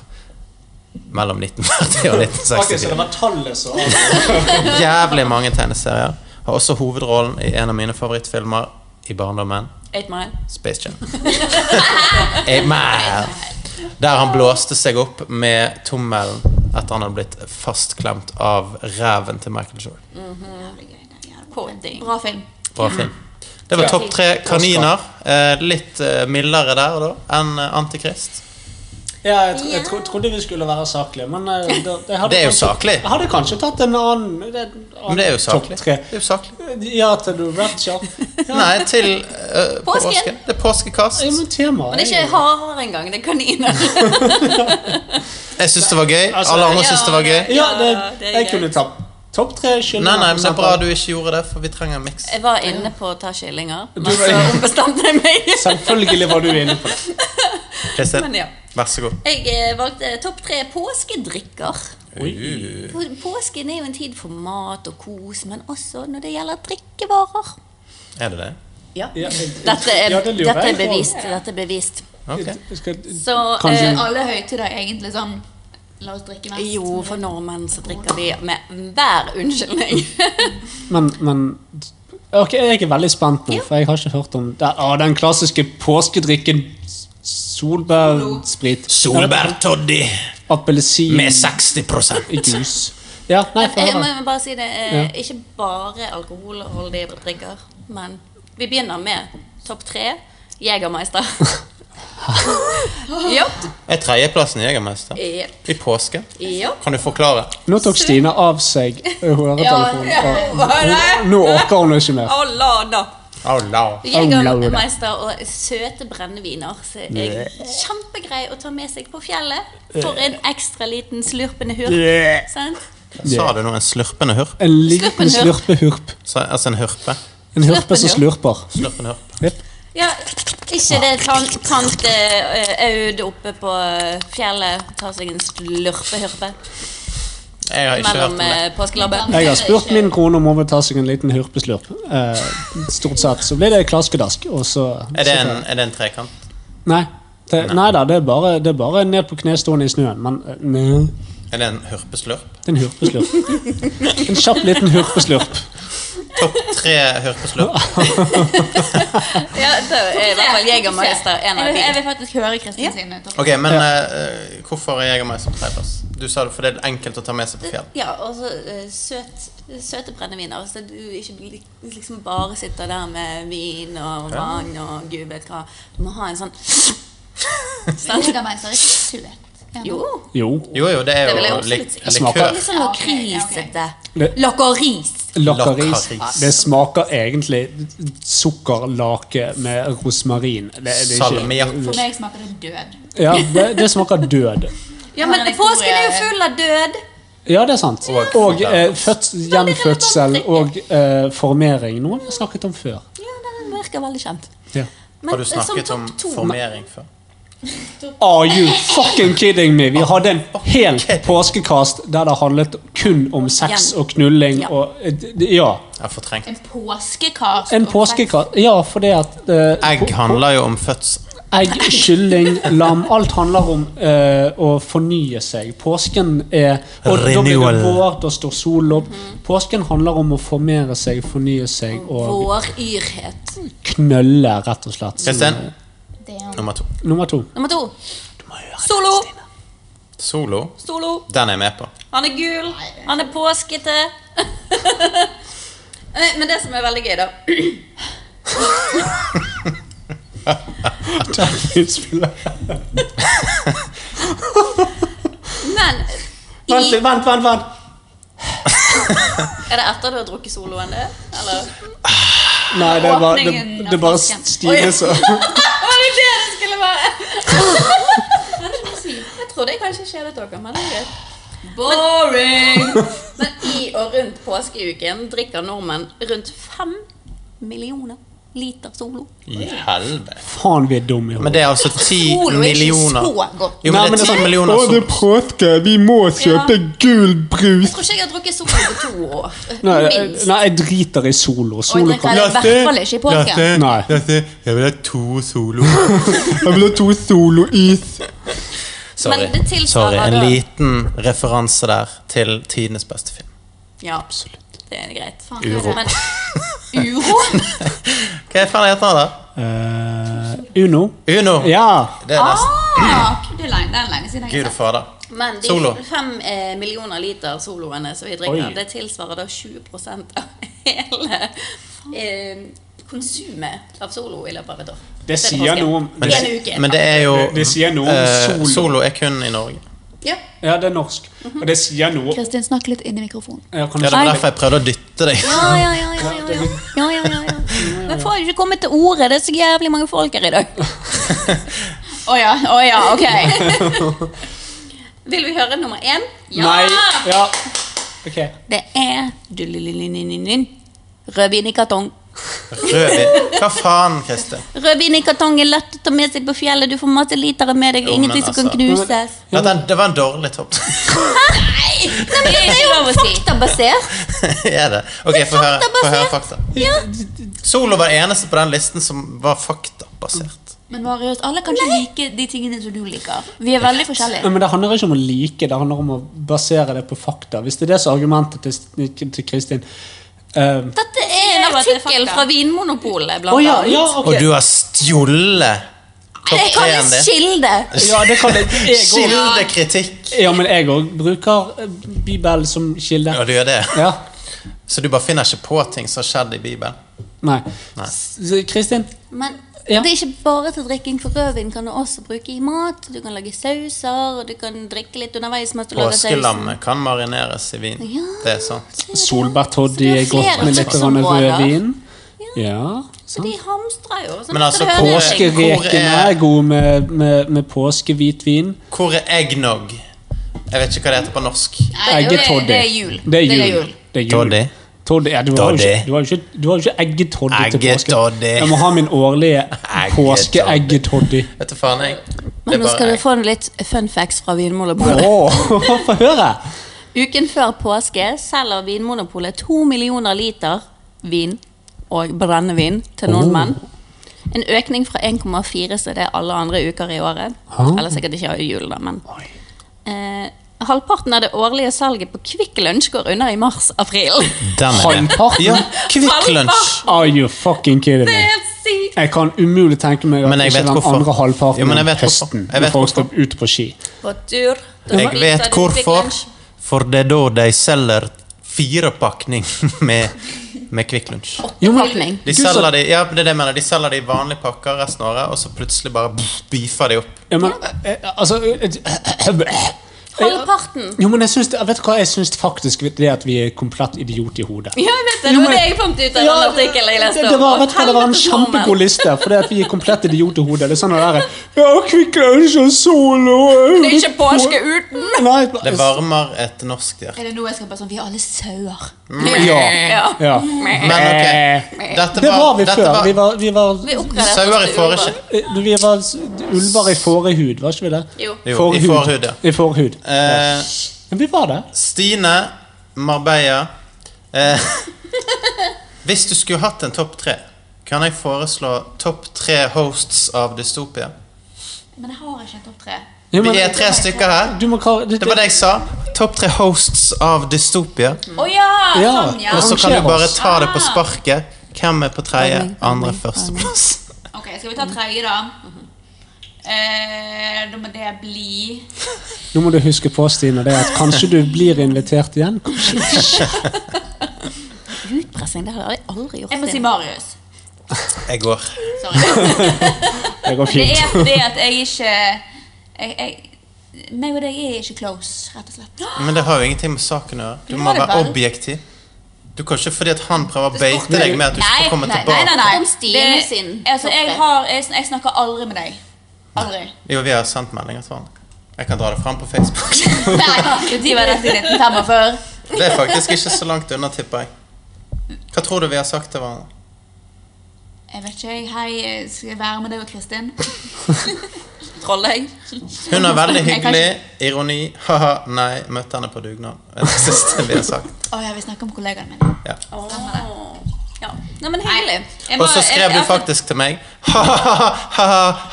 mellom 1940 og
Ok, så
1964.
det var tallet som avgjorde.
Jævlig mange tegneserier. Har også hovedrollen i en av mine favorittfilmer i barndommen,
Eight Mile.
Space Jam. [LAUGHS] Amen. Der han blåste seg opp med tommelen etter han hadde blitt fastklemt av ræven til Michael Jordan.
Jævlig gøy. det er jævlig Podding.
Bra film.
Bra film. Det var topp tre kaniner. Eh, litt eh, mildere der da enn eh, Antikrist.
Ja, jeg, tro, jeg tro, trodde vi skulle være saklige, men eh, da, jeg hadde
Det er jo
kanskje-
saklig.
Jeg hadde kanskje tatt en annen, det er en annen
Men det er jo
topp
saklig.
tre.
Det er jo saklig.
Ja, til du rapture. Ja,
Nei, til eh,
Påsken.
påske. Det er påskekast.
ja, men temaet
Men det er ikke harer engang. Det er kaniner.
Jeg syns det var gøy.
Altså,
Alle andre
ja,
syns det var gøy.
det-
Ja, det,
det er
jeg
gøy.
kunne tatt topp tre. skjønner
Nei, nei,
jeg,
men det er
for
bra
eksempel.
du ikke gjorde det, for vi trenger en miks.
Jeg var inne på å ta kyllinger, men
Du var
så ombestemte jeg meg.
Selvfølgelig var du inne på det.
Kristin,
Men ja.
vær så god.
Jeg eh, valgte topp tre påskedrikker. På- Påsken er jo en tid for mat og kos, men også når det gjelder drikkevarer.
Er det det?
Ja.
Ja,
Dette er,
ja, det lurer
dette
jeg
er
på.
bevist. Dette er bevist.
Ok.
Jeg skal-
Så
Kanskje-
eh,
Alle høytider er egentlig sånn La oss drikke mest.
Jo, for nordmenn så drikker vi med hver unnskyldning.
Men, men Ok, jeg er veldig spent nå, for jeg har ikke hørt om det. Ah, den klassiske påskedrikken solbærsprit.
Solbærtoddy
Appelsin
60
i jus. [LAUGHS] Ja, nei, få
Jeg
høre.
må bare si det. eh,
Ja.
Ikke bare alkoholholdige drikker, men vi begynner med topp tre.
[LAUGHS]
Jegermeister. Jopp.
Er tredjeplassen Jegermester?
Jepp.
I påske?
Jopp.
Kan du forklare?
Nå tok Stine av seg høretelefonen.
Ja, ja, hva er det?
og Nå orker hun ikke mer.
Alana.
Allah.
Jegermeister og søte brenneviner så er kjempegrei å ta med seg på fjellet for en ekstra liten slurpende hurp. Sant?
Sa du nå en slurpende hurp?
En liten slurpehurp.
Sa- Altså en hørpe?
En hurpe som slurper.
Slurpende hørpe.
Ja, ikke det tan tante eh, Aud oppe på fjellet tar seg en slurpehurpe
Jeg har ikke hørt
mellom
om det.
eh, påskelabben.
Jeg har spurt min kone om hun vil ta seg en liten hurpeslurp. Eh, stort sett så blir det klaskedask. Og så,
Er det en, er det en trekant?
Nei. Det, nei da, det er, bare, det er bare ned på kne stående i snøen. Men eh, nei,
Er det en hørpeslurp?
det er en hurpeslurp.
[LAUGHS]
En kjapp liten hurpeslurp.
Topp tre
[LAUGHS]
hørpeslurp?
Ja, da er i hvert fall Jegermeister en av
Jeg vil, jeg
de.
vil faktisk høre Kristin sine. topp.
Ok, men eh, hvorfor er Jegermeister på tredjeplass? Du sa det fordi det er enkelt å ta med seg på fjell.
Ja, og så eh, søt, søte brenneviner, så du ikke blir- liksom bare sitter der med vin og vann og gud vet hva. Du må ha en sånn [LAUGHS]
Jegermeister er ikke så lett. Ja.
Jo,
Jo.
Jo, jo, det er
det vil jeg
jo
også
lik-
litt si.
smaker-
likør.
Litt sånn lakrisete.
Det-
Lakris.
Lakris.
Lakris.
Det smaker egentlig sukkerlake med rosmarin. Det, det er ikke-
Salmiakk.
For meg smaker det død.
Ja, det, det smaker død.
Ja, men
Ja, det er
påsken er jo
historie.
full av død.
Ja, det er sant.
Og-
Og eh, født, gjenfødsel og eh, formering. Noe vi har snakket om før.
Ja, den virker veldig kjent.
Ja.
Men,
Har du
eh, som
snakket om
topp to-
formering før?
Are you fucking kidding me? Vi hadde en hel påskekast der det handlet kun om sex og knulling
Ja.
og eh, Ja.
Jeg har fortrengt.
En påskekast.
En
og
påskekast Ja, fordi at eh,
Egg handler jo om fødsel.
Egg, kylling, lam. Alt handler om eh, å fornye seg. Påsken er Og da blir
Renewal.
det vår, da står solen opp.
Mm.
Påsken handler om å formere seg, fornye seg og
Vår yrhet.
knølle, rett og slett.
Kristin,
sex. Det er-
nummer to.
Nummer to.
Nummer to. Solo.
Solo.
Solo.
Den er jeg med på.
Han er gul. Han er påskete. [LAUGHS] Nei, Men det som er veldig gøy, da Men
Vent,
i,
vent, vent! vent.
Er det etter du har drukket soloen, det? Eller?
Nei, det er bare, det,
Åpningen av
det er bare
flasken.
Stine som
Var det det det skulle være? jeg trodde jeg kanskje kjedet dere, men det er greit. Boring! Men i og rundt påskeuken drikker nordmenn rundt fem millioner liter Solo.
I helvete.
Faen, vi er dumme i
Men
hodet.
det er altså ti
Solo er ikke
millioner
så godt.
Jo, men det er ti millioner sol.
påske, vi må
kjøpe
gul brus!
Jeg
sånn-
tror ikke jeg har drukket Solo på to år.
Nei, eh,
Minst.
nei, jeg driter i Solo.
Og jeg
Solo
drikker
kan
det i hvert fall ikke i påsken.
Nei.
Jeg vil ha to solo.
Jeg vil ha to Solo-is.
Sorry.
Men det tilsvarer
Sorry. En
da-
liten referanse der til tidenes beste film.
Ja, absolutt. Det er greit.
Uro. [LAUGHS]
Men uro?
Hva faen heter han, da?
Eh, Uno.
Uno.
Ja.
Det er nesten
Ah, det er lenge, det er lenge siden jeg har
Gud og fader.
Men de
Solo.
fem eh, millioner liter soloene som vi drikker, det tilsvarer da 20 av [LAUGHS] hele eh, konsumet av solo i løpet av et år.
Det sier
påsken.
noe om
Men
En
det,
uke.
men det er jo
Det- det sier noe om
eh,
solo.
Solo er kun i Norge.
Ja.
Ja, det er norsk. Og det sier noe
Kristin, snakk litt inn i mikrofonen.
Ja, kan du
Ja, Det var
snakke-
derfor jeg prøvde å dytte deg.
Ja, ja, ja, ja, ja, ja. ja, ja, ja, ja. Men får ikke komme til ordet. Det er så jævlig mange folk her
[LAUGHS]
i dag.
Å ja, å ja, ok.
Vil vi høre nummer én?
Nei. Ja. Ok.
Det er dululululululul. Rødvin i kartong.
Rødvin. Hva faen, Kristin?
Rødvin i kartong er lett å ta med seg på fjellet. Du får masse liter med deg.
Jo, men
Ingenting som kan
altså-
knuses.
Ja, den, det var en dårlig topp. [LAUGHS]
Nei, men det er jo faktabasert.
er det? Ok, få høre, få høre
faktabasert.
fakta. Solo var det eneste på den listen som var faktabasert.
Men Marius, alle kan ikke like de tingene som du liker. Vi er veldig
Ja,
forskjellige.
Men Det handler ikke om å like, det handler om å basere det på fakta. Hvis det er det som er argumentet til, til Kristin eh,
Dette er en
Det var til
artikkel
fakta.
fra Vinmonopolet, blant
Å ja,
annet.
ja, ok.
Og du har stjålet topp
Jeg kan
én
en
din.
kilde!
Ja, det kan jeg.
[LAUGHS]
jeg går-
Kildekritikk.
Ja, men jeg òg bruker eh, Bibelen som kilde.
Ja, du gjør det.
Ja.
Så du bare finner ikke på ting som har skjedd i Bibelen.
Nei. S- Kristin?
Men
Ja.
det er ikke bare til drikking, for rødvin kan du også bruke i mat. Du kan lage sauser, og du kan drikke litt underveis mens du lager sausen.
Påskelammet kan marineres i vin. Det er sant.
Solbærtoddy
Så det
er
er
godt
flere
med litt grann
bruksområder.
rødvin. Ja.
Så de hamstrer jo. Så
Men
dette
altså,
er
hvor-
høring.
Påskerekene
Hvor er-
er gode med, med, med påskehvitvin.
Hvor er eggnog? Jeg vet ikke hva det heter på norsk.
Nei, det er-
Eggetoddy.
Det er jul.
Det er jul. Det er jul.
Toddy.
Toddy. Ja, du har jo
Toddy.
ikke, du har jo ikke, du har jo ikke eggetoddy til påske.
Eggetoddy.
Jeg må ha min årlige påskeeggetoddy.
Vet du faen, jeg. Det
Men
er
nå skal
bare
du
egg.
få litt fun facts fra Vinmonopolet.
Åh, [LAUGHS] Få høre!
Uken før påske selger Vinmonopolet to millioner liter vin og brennevin til nordmenn.
Oh.
En økning fra 1,4 som det er alle andre uker i året. Eller sikkert ikke i jul, da, men eh, Halvparten av det årlige salget på Kvikk Lunsj går unna i
[LAUGHS]
mars-april.
Den er med.
Halvparten?
Ja, Kvikk Lunsj.
Are you fucking kidding
Det
me?
er helt sykt!
Jeg kan umulig tenke meg at
Men jeg
ikke
vet
den
hvorfor.
andre halvparten
Jo, men jeg vet
av høsten
hvorfor. Jeg
når
vet
folk skal ut på ski.
På tur. Da
Jeg
spiser
vet
du Kvikk
hvorfor.
Lunsj.
For det er da de selger firepakning [LAUGHS] med, med Kvikk Lunsj.
Jo, men-
Pakning.
De
Gud, så-
selger de, ja, det er det jeg mener, de selger de i vanlige pakker resten av året, og så plutselig bare pff, beefer de opp.
Ja, men, eh, altså eh,
Halvparten.
Jo, men jeg syns, det- vet du hva? Jeg syns faktisk det at vi er komplett idiot i hodet.
Ja, jeg vet det.
Jo,
Det
men-
var det jeg fant ut av den artikkelen jeg leste.
det, det, var, vet du hva, det var en
Helvetes nordmenn.
kjempegod liste, fordi at vi er komplett idiot i hodet. Det er sånn det der, Ja, Kvikk Lunsj og Solo
Det er ikke påske uten.
Nei,
Det varmer et norsk hjerte.
Er det nå jeg skal bare sånn Vi er alle sauer.
Ja.
Ja.
ja.
Men ok, dette
Eh, Det var vi
dette
før. Vi var, vi var,
Vi oppgraderte
Sauer
oss
i
til
fårekjøtt.
ulver.
eh, vi var ulver i fårehud, var ikke vi det?
Jo.
Jo, i fårehud, ja.
I fårehud.
Eh,
Men vi var det.
Stine Marbella. Eh, [LAUGHS] hvis du skulle hatt en topp tre, kan jeg foreslå topp tre hosts av Dystopia?
Men jeg har ikke en topp tre.
Jo,
Vi
men-
er tre stykker her.
du må kalle,
Det var det jeg sa. Topp tre hosts av Dystopia.
Å ja!
Ja.
Sånn, ja.
Og så kan
Arranger
du bare
oss.
ta det på
Ah.
sparket. Hvem er på tredje,
Ordning,
andre,
ordning,
førsteplass?
Ok, skal vi ta tredje, da? Eh, da må det bli
Nå må du huske på, Stine, det er at kanskje du blir invitert igjen. Kanskje
Utpressing, det hadde jeg aldri gjort.
Jeg må si
Stine.
Marius.
Jeg går.
Sorry.
det går
Det
fint.
er fordi at jeg ikke jeg, jeg, Meg og deg er ikke close, rett og [GASPS] slett.
Men det har jo ingenting med saken å gjøre. Du
Men
må
var det
være
vel?
objektiv. Du kan ikke fordi at han prøver å beite deg med at du
Nei,
skal komme
nei, nei, nei,
tilbake.
nei.
Om Stine
Det-
sin
altså, jeg,
topp tre.
har, jeg, sn- jeg snakker aldri med deg. Aldri.
Jo, vi har sendt meldinger til hverandre. Jeg kan dra det fram på Facebook. [LAUGHS]
Nei, [LAUGHS] Når var dette? I 1945?
Det er faktisk ikke så langt unna, tipper jeg. Hva tror du vi har sagt til hverandre?
Jeg vet ikke. jeg. Hei, jeg skal jeg være med deg og Kristin? Troller jeg?
Hun er veldig
Jeg kan
hyggelig, ironi, haha, nei, møtte henne på dugnad. Det er det siste vi har sagt.
Å ja, vi snakker om kollegaene mine.
Ja.
Ja. Nei, men hyggelig.
Jeg må-
Og så
jeg-
skrev du
altså,
faktisk til meg, ha-ha-ha,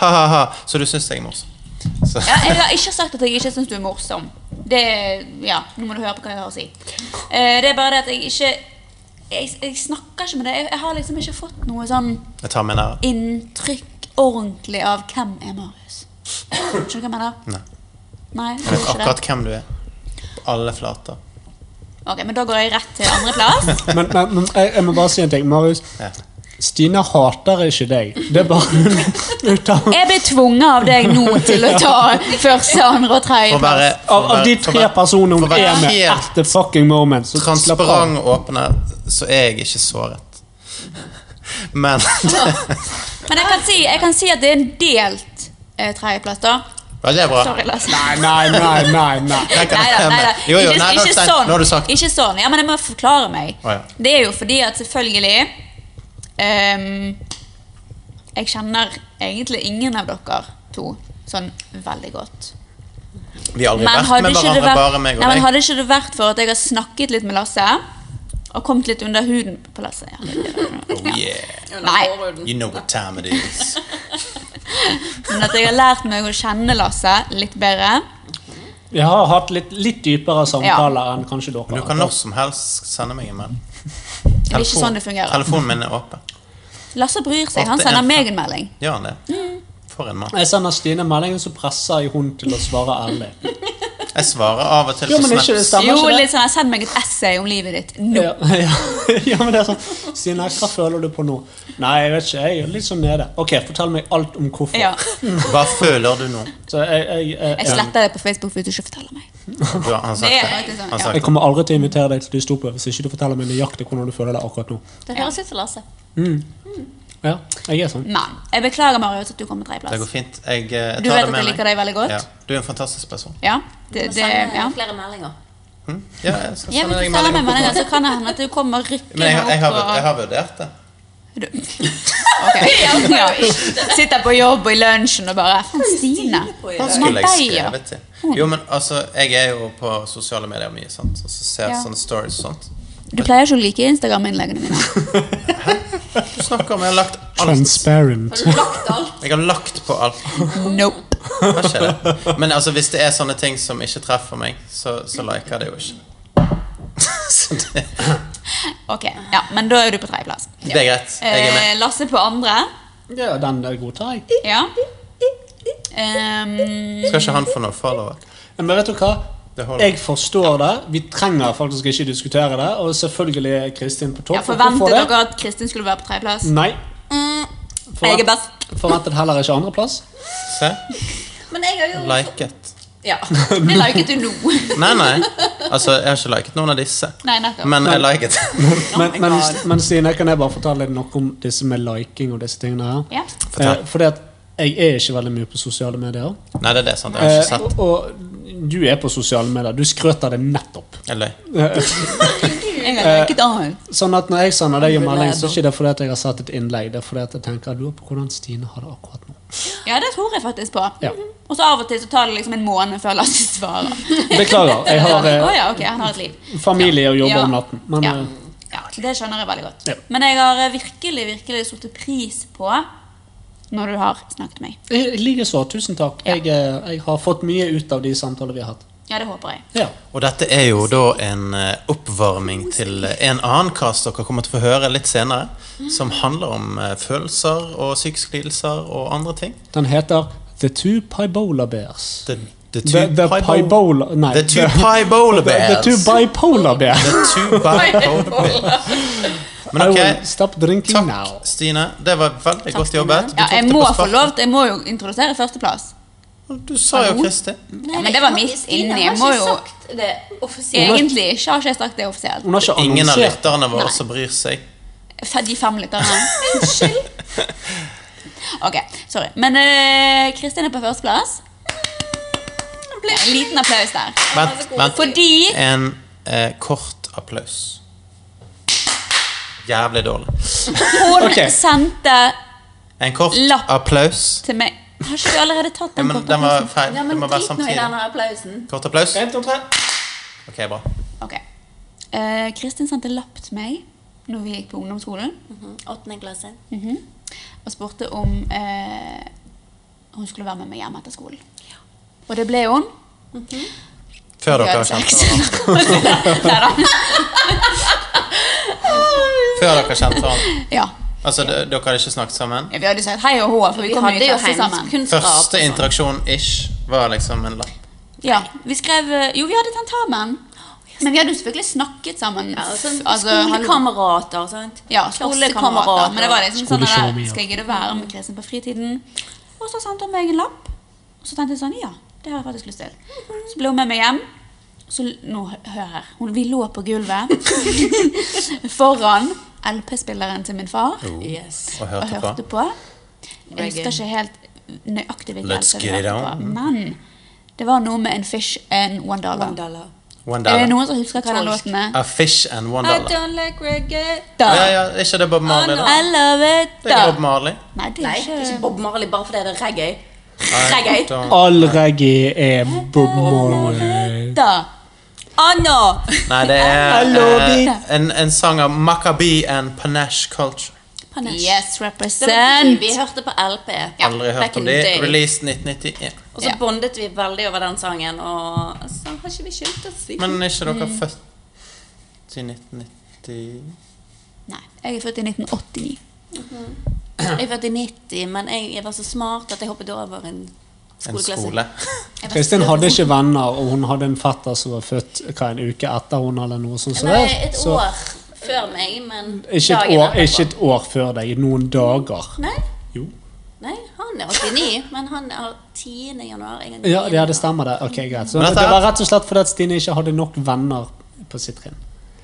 ha-ha-ha, så du syns jeg er morsom. Så.
Ja, jeg har ikke sagt at jeg ikke syns du er morsom. Det, ja, Nå må du høre på hva jeg har å si. Eh, det er bare det at jeg ikke Jeg, jeg snakker ikke med deg. Jeg, jeg har liksom ikke fått noe sånn
Jeg tar min ære.
inntrykk ordentlig av hvem er Marius. Skjønner du hva jeg mener?
Nei.
Nei, du gjør
Jeg vet
ikke
akkurat
det.
hvem du er. På alle flater.
Ok, Men da går jeg rett til andreplass.
Men, men, men jeg, jeg må bare si en ting, Marius.
Ja.
Stine hater ikke deg. Det er bare hun- hun tar-
Jeg blir tvunget av deg nå til å [LAUGHS] ta første, andre og
For å
tredje.
være, for å
av, av de
være- for å
tre
være
personene hun
for å være
er med
helt
at the fucking moment, så slapp av.
transparent og åpen, her, så er jeg ikke såret. [LAUGHS] Men
Men jeg kan, si, jeg kan si at det er en delt eh, tredjeplass, da.
Ja, det er bra.
Sorry, Lars.
Nei, nei, nei. nei.
Jeg kan
Neida,
stemme.
neida.
Jo, jo,
Ikke-
nei, nå har du
ikke
stemt.
sånn.
Nå har du sagt.
Ikke sånn. Ja, men jeg må forklare meg.
Å, ja.
Det er jo fordi at selvfølgelig ehm, Jeg kjenner egentlig ingen av dere to sånn veldig godt.
Vi har aldri
Men
vært
hadde
med
ikke det
hverandre,
vært,
bare meg og
nei, men
deg.
hadde ikke det vært for at jeg har snakket litt med Lasse, og kommet litt under huden på Lasse ja.
Oh, yeah.
Nei,
You know what time it is.
men at jeg har lært meg å kjenne Lasse litt bedre.
Vi har hatt litt, litt dypere samtaler enn kanskje dere.
Men du kan når som helst sende meg en melding.
Det er ikke sånn det fungerer.
Telefonen min er åpen.
Lasse bryr seg. Han
Åtte, en,
sender
fem.
meg en melding.
Gjør han det?
Mm.
For en mann.
Jeg sender Stine meldingen, så presser jeg hun til å svare ærlig.
Jeg svarer av og til
Jo,
på
men ikke det
snaps.
stemmer
Jo,
ikke det?
litt sånn, send meg et essay om livet ditt nå.
Ja, ja. [LAUGHS] ja, men det er sånn Stine, hva føler du på nå? Nei, jeg vet ikke. Jeg er litt sånn nede. Ok, fortell meg alt om hvorfor.
Ja.
Hva føler du nå?
Så jeg, jeg, jeg,
Jeg
jeg,
sletter det på Facebook hvis du ikke forteller meg.
Du har- Han sagt
Det er
det.
faktisk sånn,
Han
ja.
sagt
jeg
det.
kommer aldri til å invitere deg til dystopia hvis ikke du forteller meg nøyaktig hvordan du føler deg akkurat nå.
Det høres ut som Lasse.
Ja, jeg er sånn.
Men jeg beklager, Marius, at du kom på
Det går
tredjeplass.
fint. Jeg eh, tar
Du vet
det
at
med
jeg
meg.
liker deg veldig godt.
Ja. Du er en fantastisk person.
Ja, det, det, ja.
flere meldinger.
Hm? Ja, jeg skal
Jeg vil
sende deg
ikke
en
stelle meg
melding.
med deg, så kan det hende at du kommer
Men jeg, jeg,
rykkende
har,
opp
jeg
og
har vurdert det.
Du- Ok. Ja. Sitter på jobb og i lunsjen og bare Faen, Stine.
Det
Hva med
skulle jeg
deg, ja?
skrevet til. Jo, men altså, jeg er jo på sosiale medier mye, sant? og så ser jeg
Ja.
sånne stories og sånt.
Du pleier ikke å like Instagram-innleggene mine.
Du snakker om jeg har lagt alt.
Transparent.
Jeg har lagt på alt.
Nope.
Hva skjer det? Men altså, hvis det er sånne ting som ikke treffer meg, så, så liker jeg det jo ikke. [LAUGHS] Så det,
Ok, ja, Men da er du på tredjeplass.
det er greit. Jeg er
Eh,
med.
Lasse på andre.
Ja, den der godtar jeg.
Ja. Ehm,
Skal ikke han få noe follower?
Men vet du hva?
Det holder.
Jeg forstår det. Vi trenger faktisk ikke diskutere det. Og selvfølgelig er Kristin på topp.
jeg
og hvorfor
forventet
det?
dere at Kristin skulle være på tredjeplass.
Mm,
Nei.
Jeg er best.
Forventet heller ikke andreplass.
Se.
Men jeg har jo
Liket.
Ja, det liket du nå.
[LAUGHS] Nei, nei. Altså, jeg har ikke liket noen av disse.
Nei, nettopp.
Men jeg liket.
Men, men, men Stine, kan jeg bare fortelle deg noe om disse med liking og disse tingene her?
Ja.
Fortell.
Eh, fordi at jeg er ikke veldig mye på sosiale medier.
Nei, det er det. sant. Jeg har
Eh,
ikke sett.
og, og du er på sosiale medier. Du skrøt av det nettopp.
Jeg løy.
Jeg har liket annet.
Sånn at når jeg sender deg en melding, så er ikke det fordi at jeg har sett et innlegg. Det er fordi at jeg tenker jeg lurer på hvordan Stine har det akkurat nå.
Ja, det tror jeg faktisk på.
Ja.
Og så av og til så tar det liksom en måned før Lasse svarer.
Beklager, jeg har eh,
Å ja, ok, han har et liv.
familie og jobber
Ja.
om natten. Men
ja.
eh,
ja, det skjønner jeg veldig godt.
Ja.
Men jeg har eh, virkelig, virkelig satt pris på når du har snakket med meg.
eh, i likeså. Tusen takk.
Ja.
Jeg, eh, jeg har fått mye ut av de samtaler vi har hatt.
Ja, det håper jeg.
Ja.
Og dette er jo da en eh, oppvarming til eh, en annen cast dere kommer til å få høre litt senere, som handler om eh, følelser og psykiske lidelser og andre ting.
Den heter The Two Pibola Bears.
The, the two
The, the
pibo-
Pibola Nei.
The two pibola
The
bears.
Two Bipolar Bears.
The two bipolar
[LAUGHS]
bears. Men
I
ok,
will stop drinking now.
takk Stine. Det var veldig godt jobbet. Du
Ja,
tok
jeg
det
må
på
få
sparket.
lov til, jeg må jo introdusere førsteplass.
Du sa jo Kristi.
Ja, men det var miss inni. Jeg må jo
sagt det offisielt.
Egentlig ikke har ikke jeg sagt det offisielt.
Hun har ikke
Ingen av
annonsert.
lytterne våre som bryr seg.
Fe- De fem lytterne. Unnskyld. Ok, sorry. Men eh, Kristin er på førsteplass. En liten applaus der.
Vent, vent.
Fordi
En eh, kort applaus. Jævlig dårlig.
hun
Ok.
sendte
En kort
Lapp.
applaus.
til meg Har ikke du allerede tatt
Ja,
den
men
korte
den var
applausen?
feil.
Ja,
Den
men
må være
drit nå i
samtidig.
denne applausen.
Kort applaus.
En, to, tre.
Ok, bra.
Ok. Eh, Kristin sendte lapp til meg når vi gikk på ungdomsskolen,
Åttende klasse.
og spurte om eh, hun skulle være med meg hjem etter skolen. Og det ble hun.
Før
Vi
dere
hadde
kjente
sex.
hverandre.
Neida.
Før dere
[LAUGHS]
kjente hverandre.
Ja.
Altså, d- dere hadde ikke snakket sammen?
Ja, Vi hadde sagt hei og hå, for vi,
Vi
kom jo
hadde
i
jo
klasse sammen.
heimkunnskap.
Første interaksjon-ish var liksom en lapp.
Ja, vi skrev eh, Jo, vi hadde tentamen. Men vi hadde jo selvfølgelig snakket sammen.
Ja, altså,
Altså, hallo.
skolekamerater, sant?
Ja, skolekamerater. Men det var liksom sånn
Skoleshow,
der,
ja.
Skal jeg gidde å være med Kristin på fritiden? Og så sendte hun meg en lapp. Og så tenkte jeg sånn Ja, det har jeg faktisk lyst til. Så ble hun med meg hjem. Så l- nå, hø- hør her. Hun, vi lå på
[LAUGHS]
gulvet foran LP-spilleren til min far
Yes.
Og
og
hørte
hørte
på.
på. Jeg husker ikke helt nøyaktig hvilken
Let's
LP vi
get it
hørte
on.
på, men det var noe med en fish and one dollar.
One dollar.
Er
One
det
dollar.
noen som husker hva den låten er?
A fish and one
I
dollar.
don't like reggae.
Da.
Ja, ja, er ikke det Bob Marley?
Ah,
da?
no.
I love it,
Det er
da.
ikke Bob Marley.
Nei, det
Nei,
er
det er ikke
ikke
Bob Marley bare fordi det er reggae.
I
Reggae.
don't-
Allreggae er Bob Marley.
Da.
Anna!
Nei, det er
Lobby.
eh, en, en sang av Maccabee and Panache Culture.
Yes,
Det var de
represent.
vi hørte på LP.
Aldri
back
hørt om
in the
de.
day.
Released 1991.
Og så
Ja.
bondet vi veldig over den sangen, og så har ikke vi skjønt oss siden.
Men er ikke dere født i 1990?
Nei, jeg er født i 1989.
Jeg er født i 90, men jeg, jeg var så smart at jeg hoppet over en
En
skoleklasse. [LAUGHS]
skole?
Kristin hadde ikke venner, og hun hadde en fetter som var født hva, en uke etter hun eller noe sånt. som
Nei,
det.
et
Så,
år før meg, men
ikke, et
dagen
år,
etterpå.
ikke et år før deg. Noen dager.
Nei?
Jo.
Nei, han er 89, men han er 10. januar. Jeg er 9.
Ja, det, ja, det stemmer det. Ok, greit. Så
Men
det
dette er-
var rett og slett fordi at Stine ikke hadde nok venner på sitt trinn.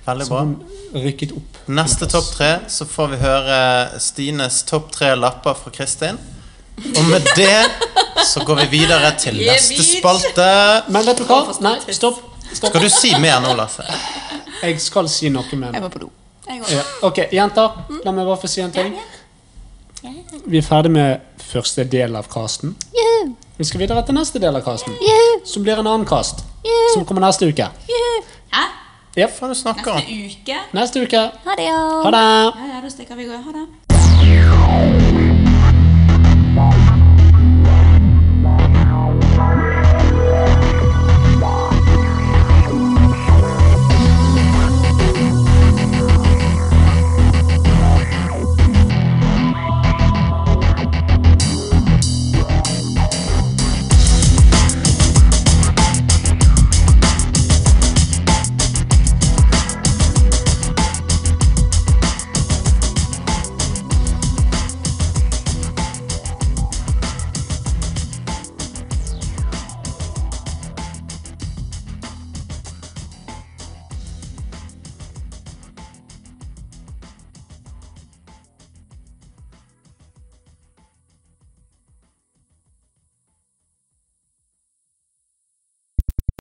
Veldig
Så
bra.
hun rykket opp.
Neste topp tre så får vi høre Stines topp tre lapper fra Kristin. Og med det så går vi videre til neste spalte.
Men vet du hva? Nei, stopp. stopp.
Skal du si mer nå, Lasse?
Jeg skal si noe med
Jeg
det.
var på do.
Jeg
Ja. Ok, jenter. La meg bare få si en ting. Vi er ferdig med første del av casten. Vi skal videre til neste del av casten, som blir en annen cast. Som kommer neste uke.
Hæ?
Jep.
Hva er det du snakker om?
Uke?
Neste uke.
Ha det, ja.
Ha det!
Ja, ja, da stikker vi og går. Ha det.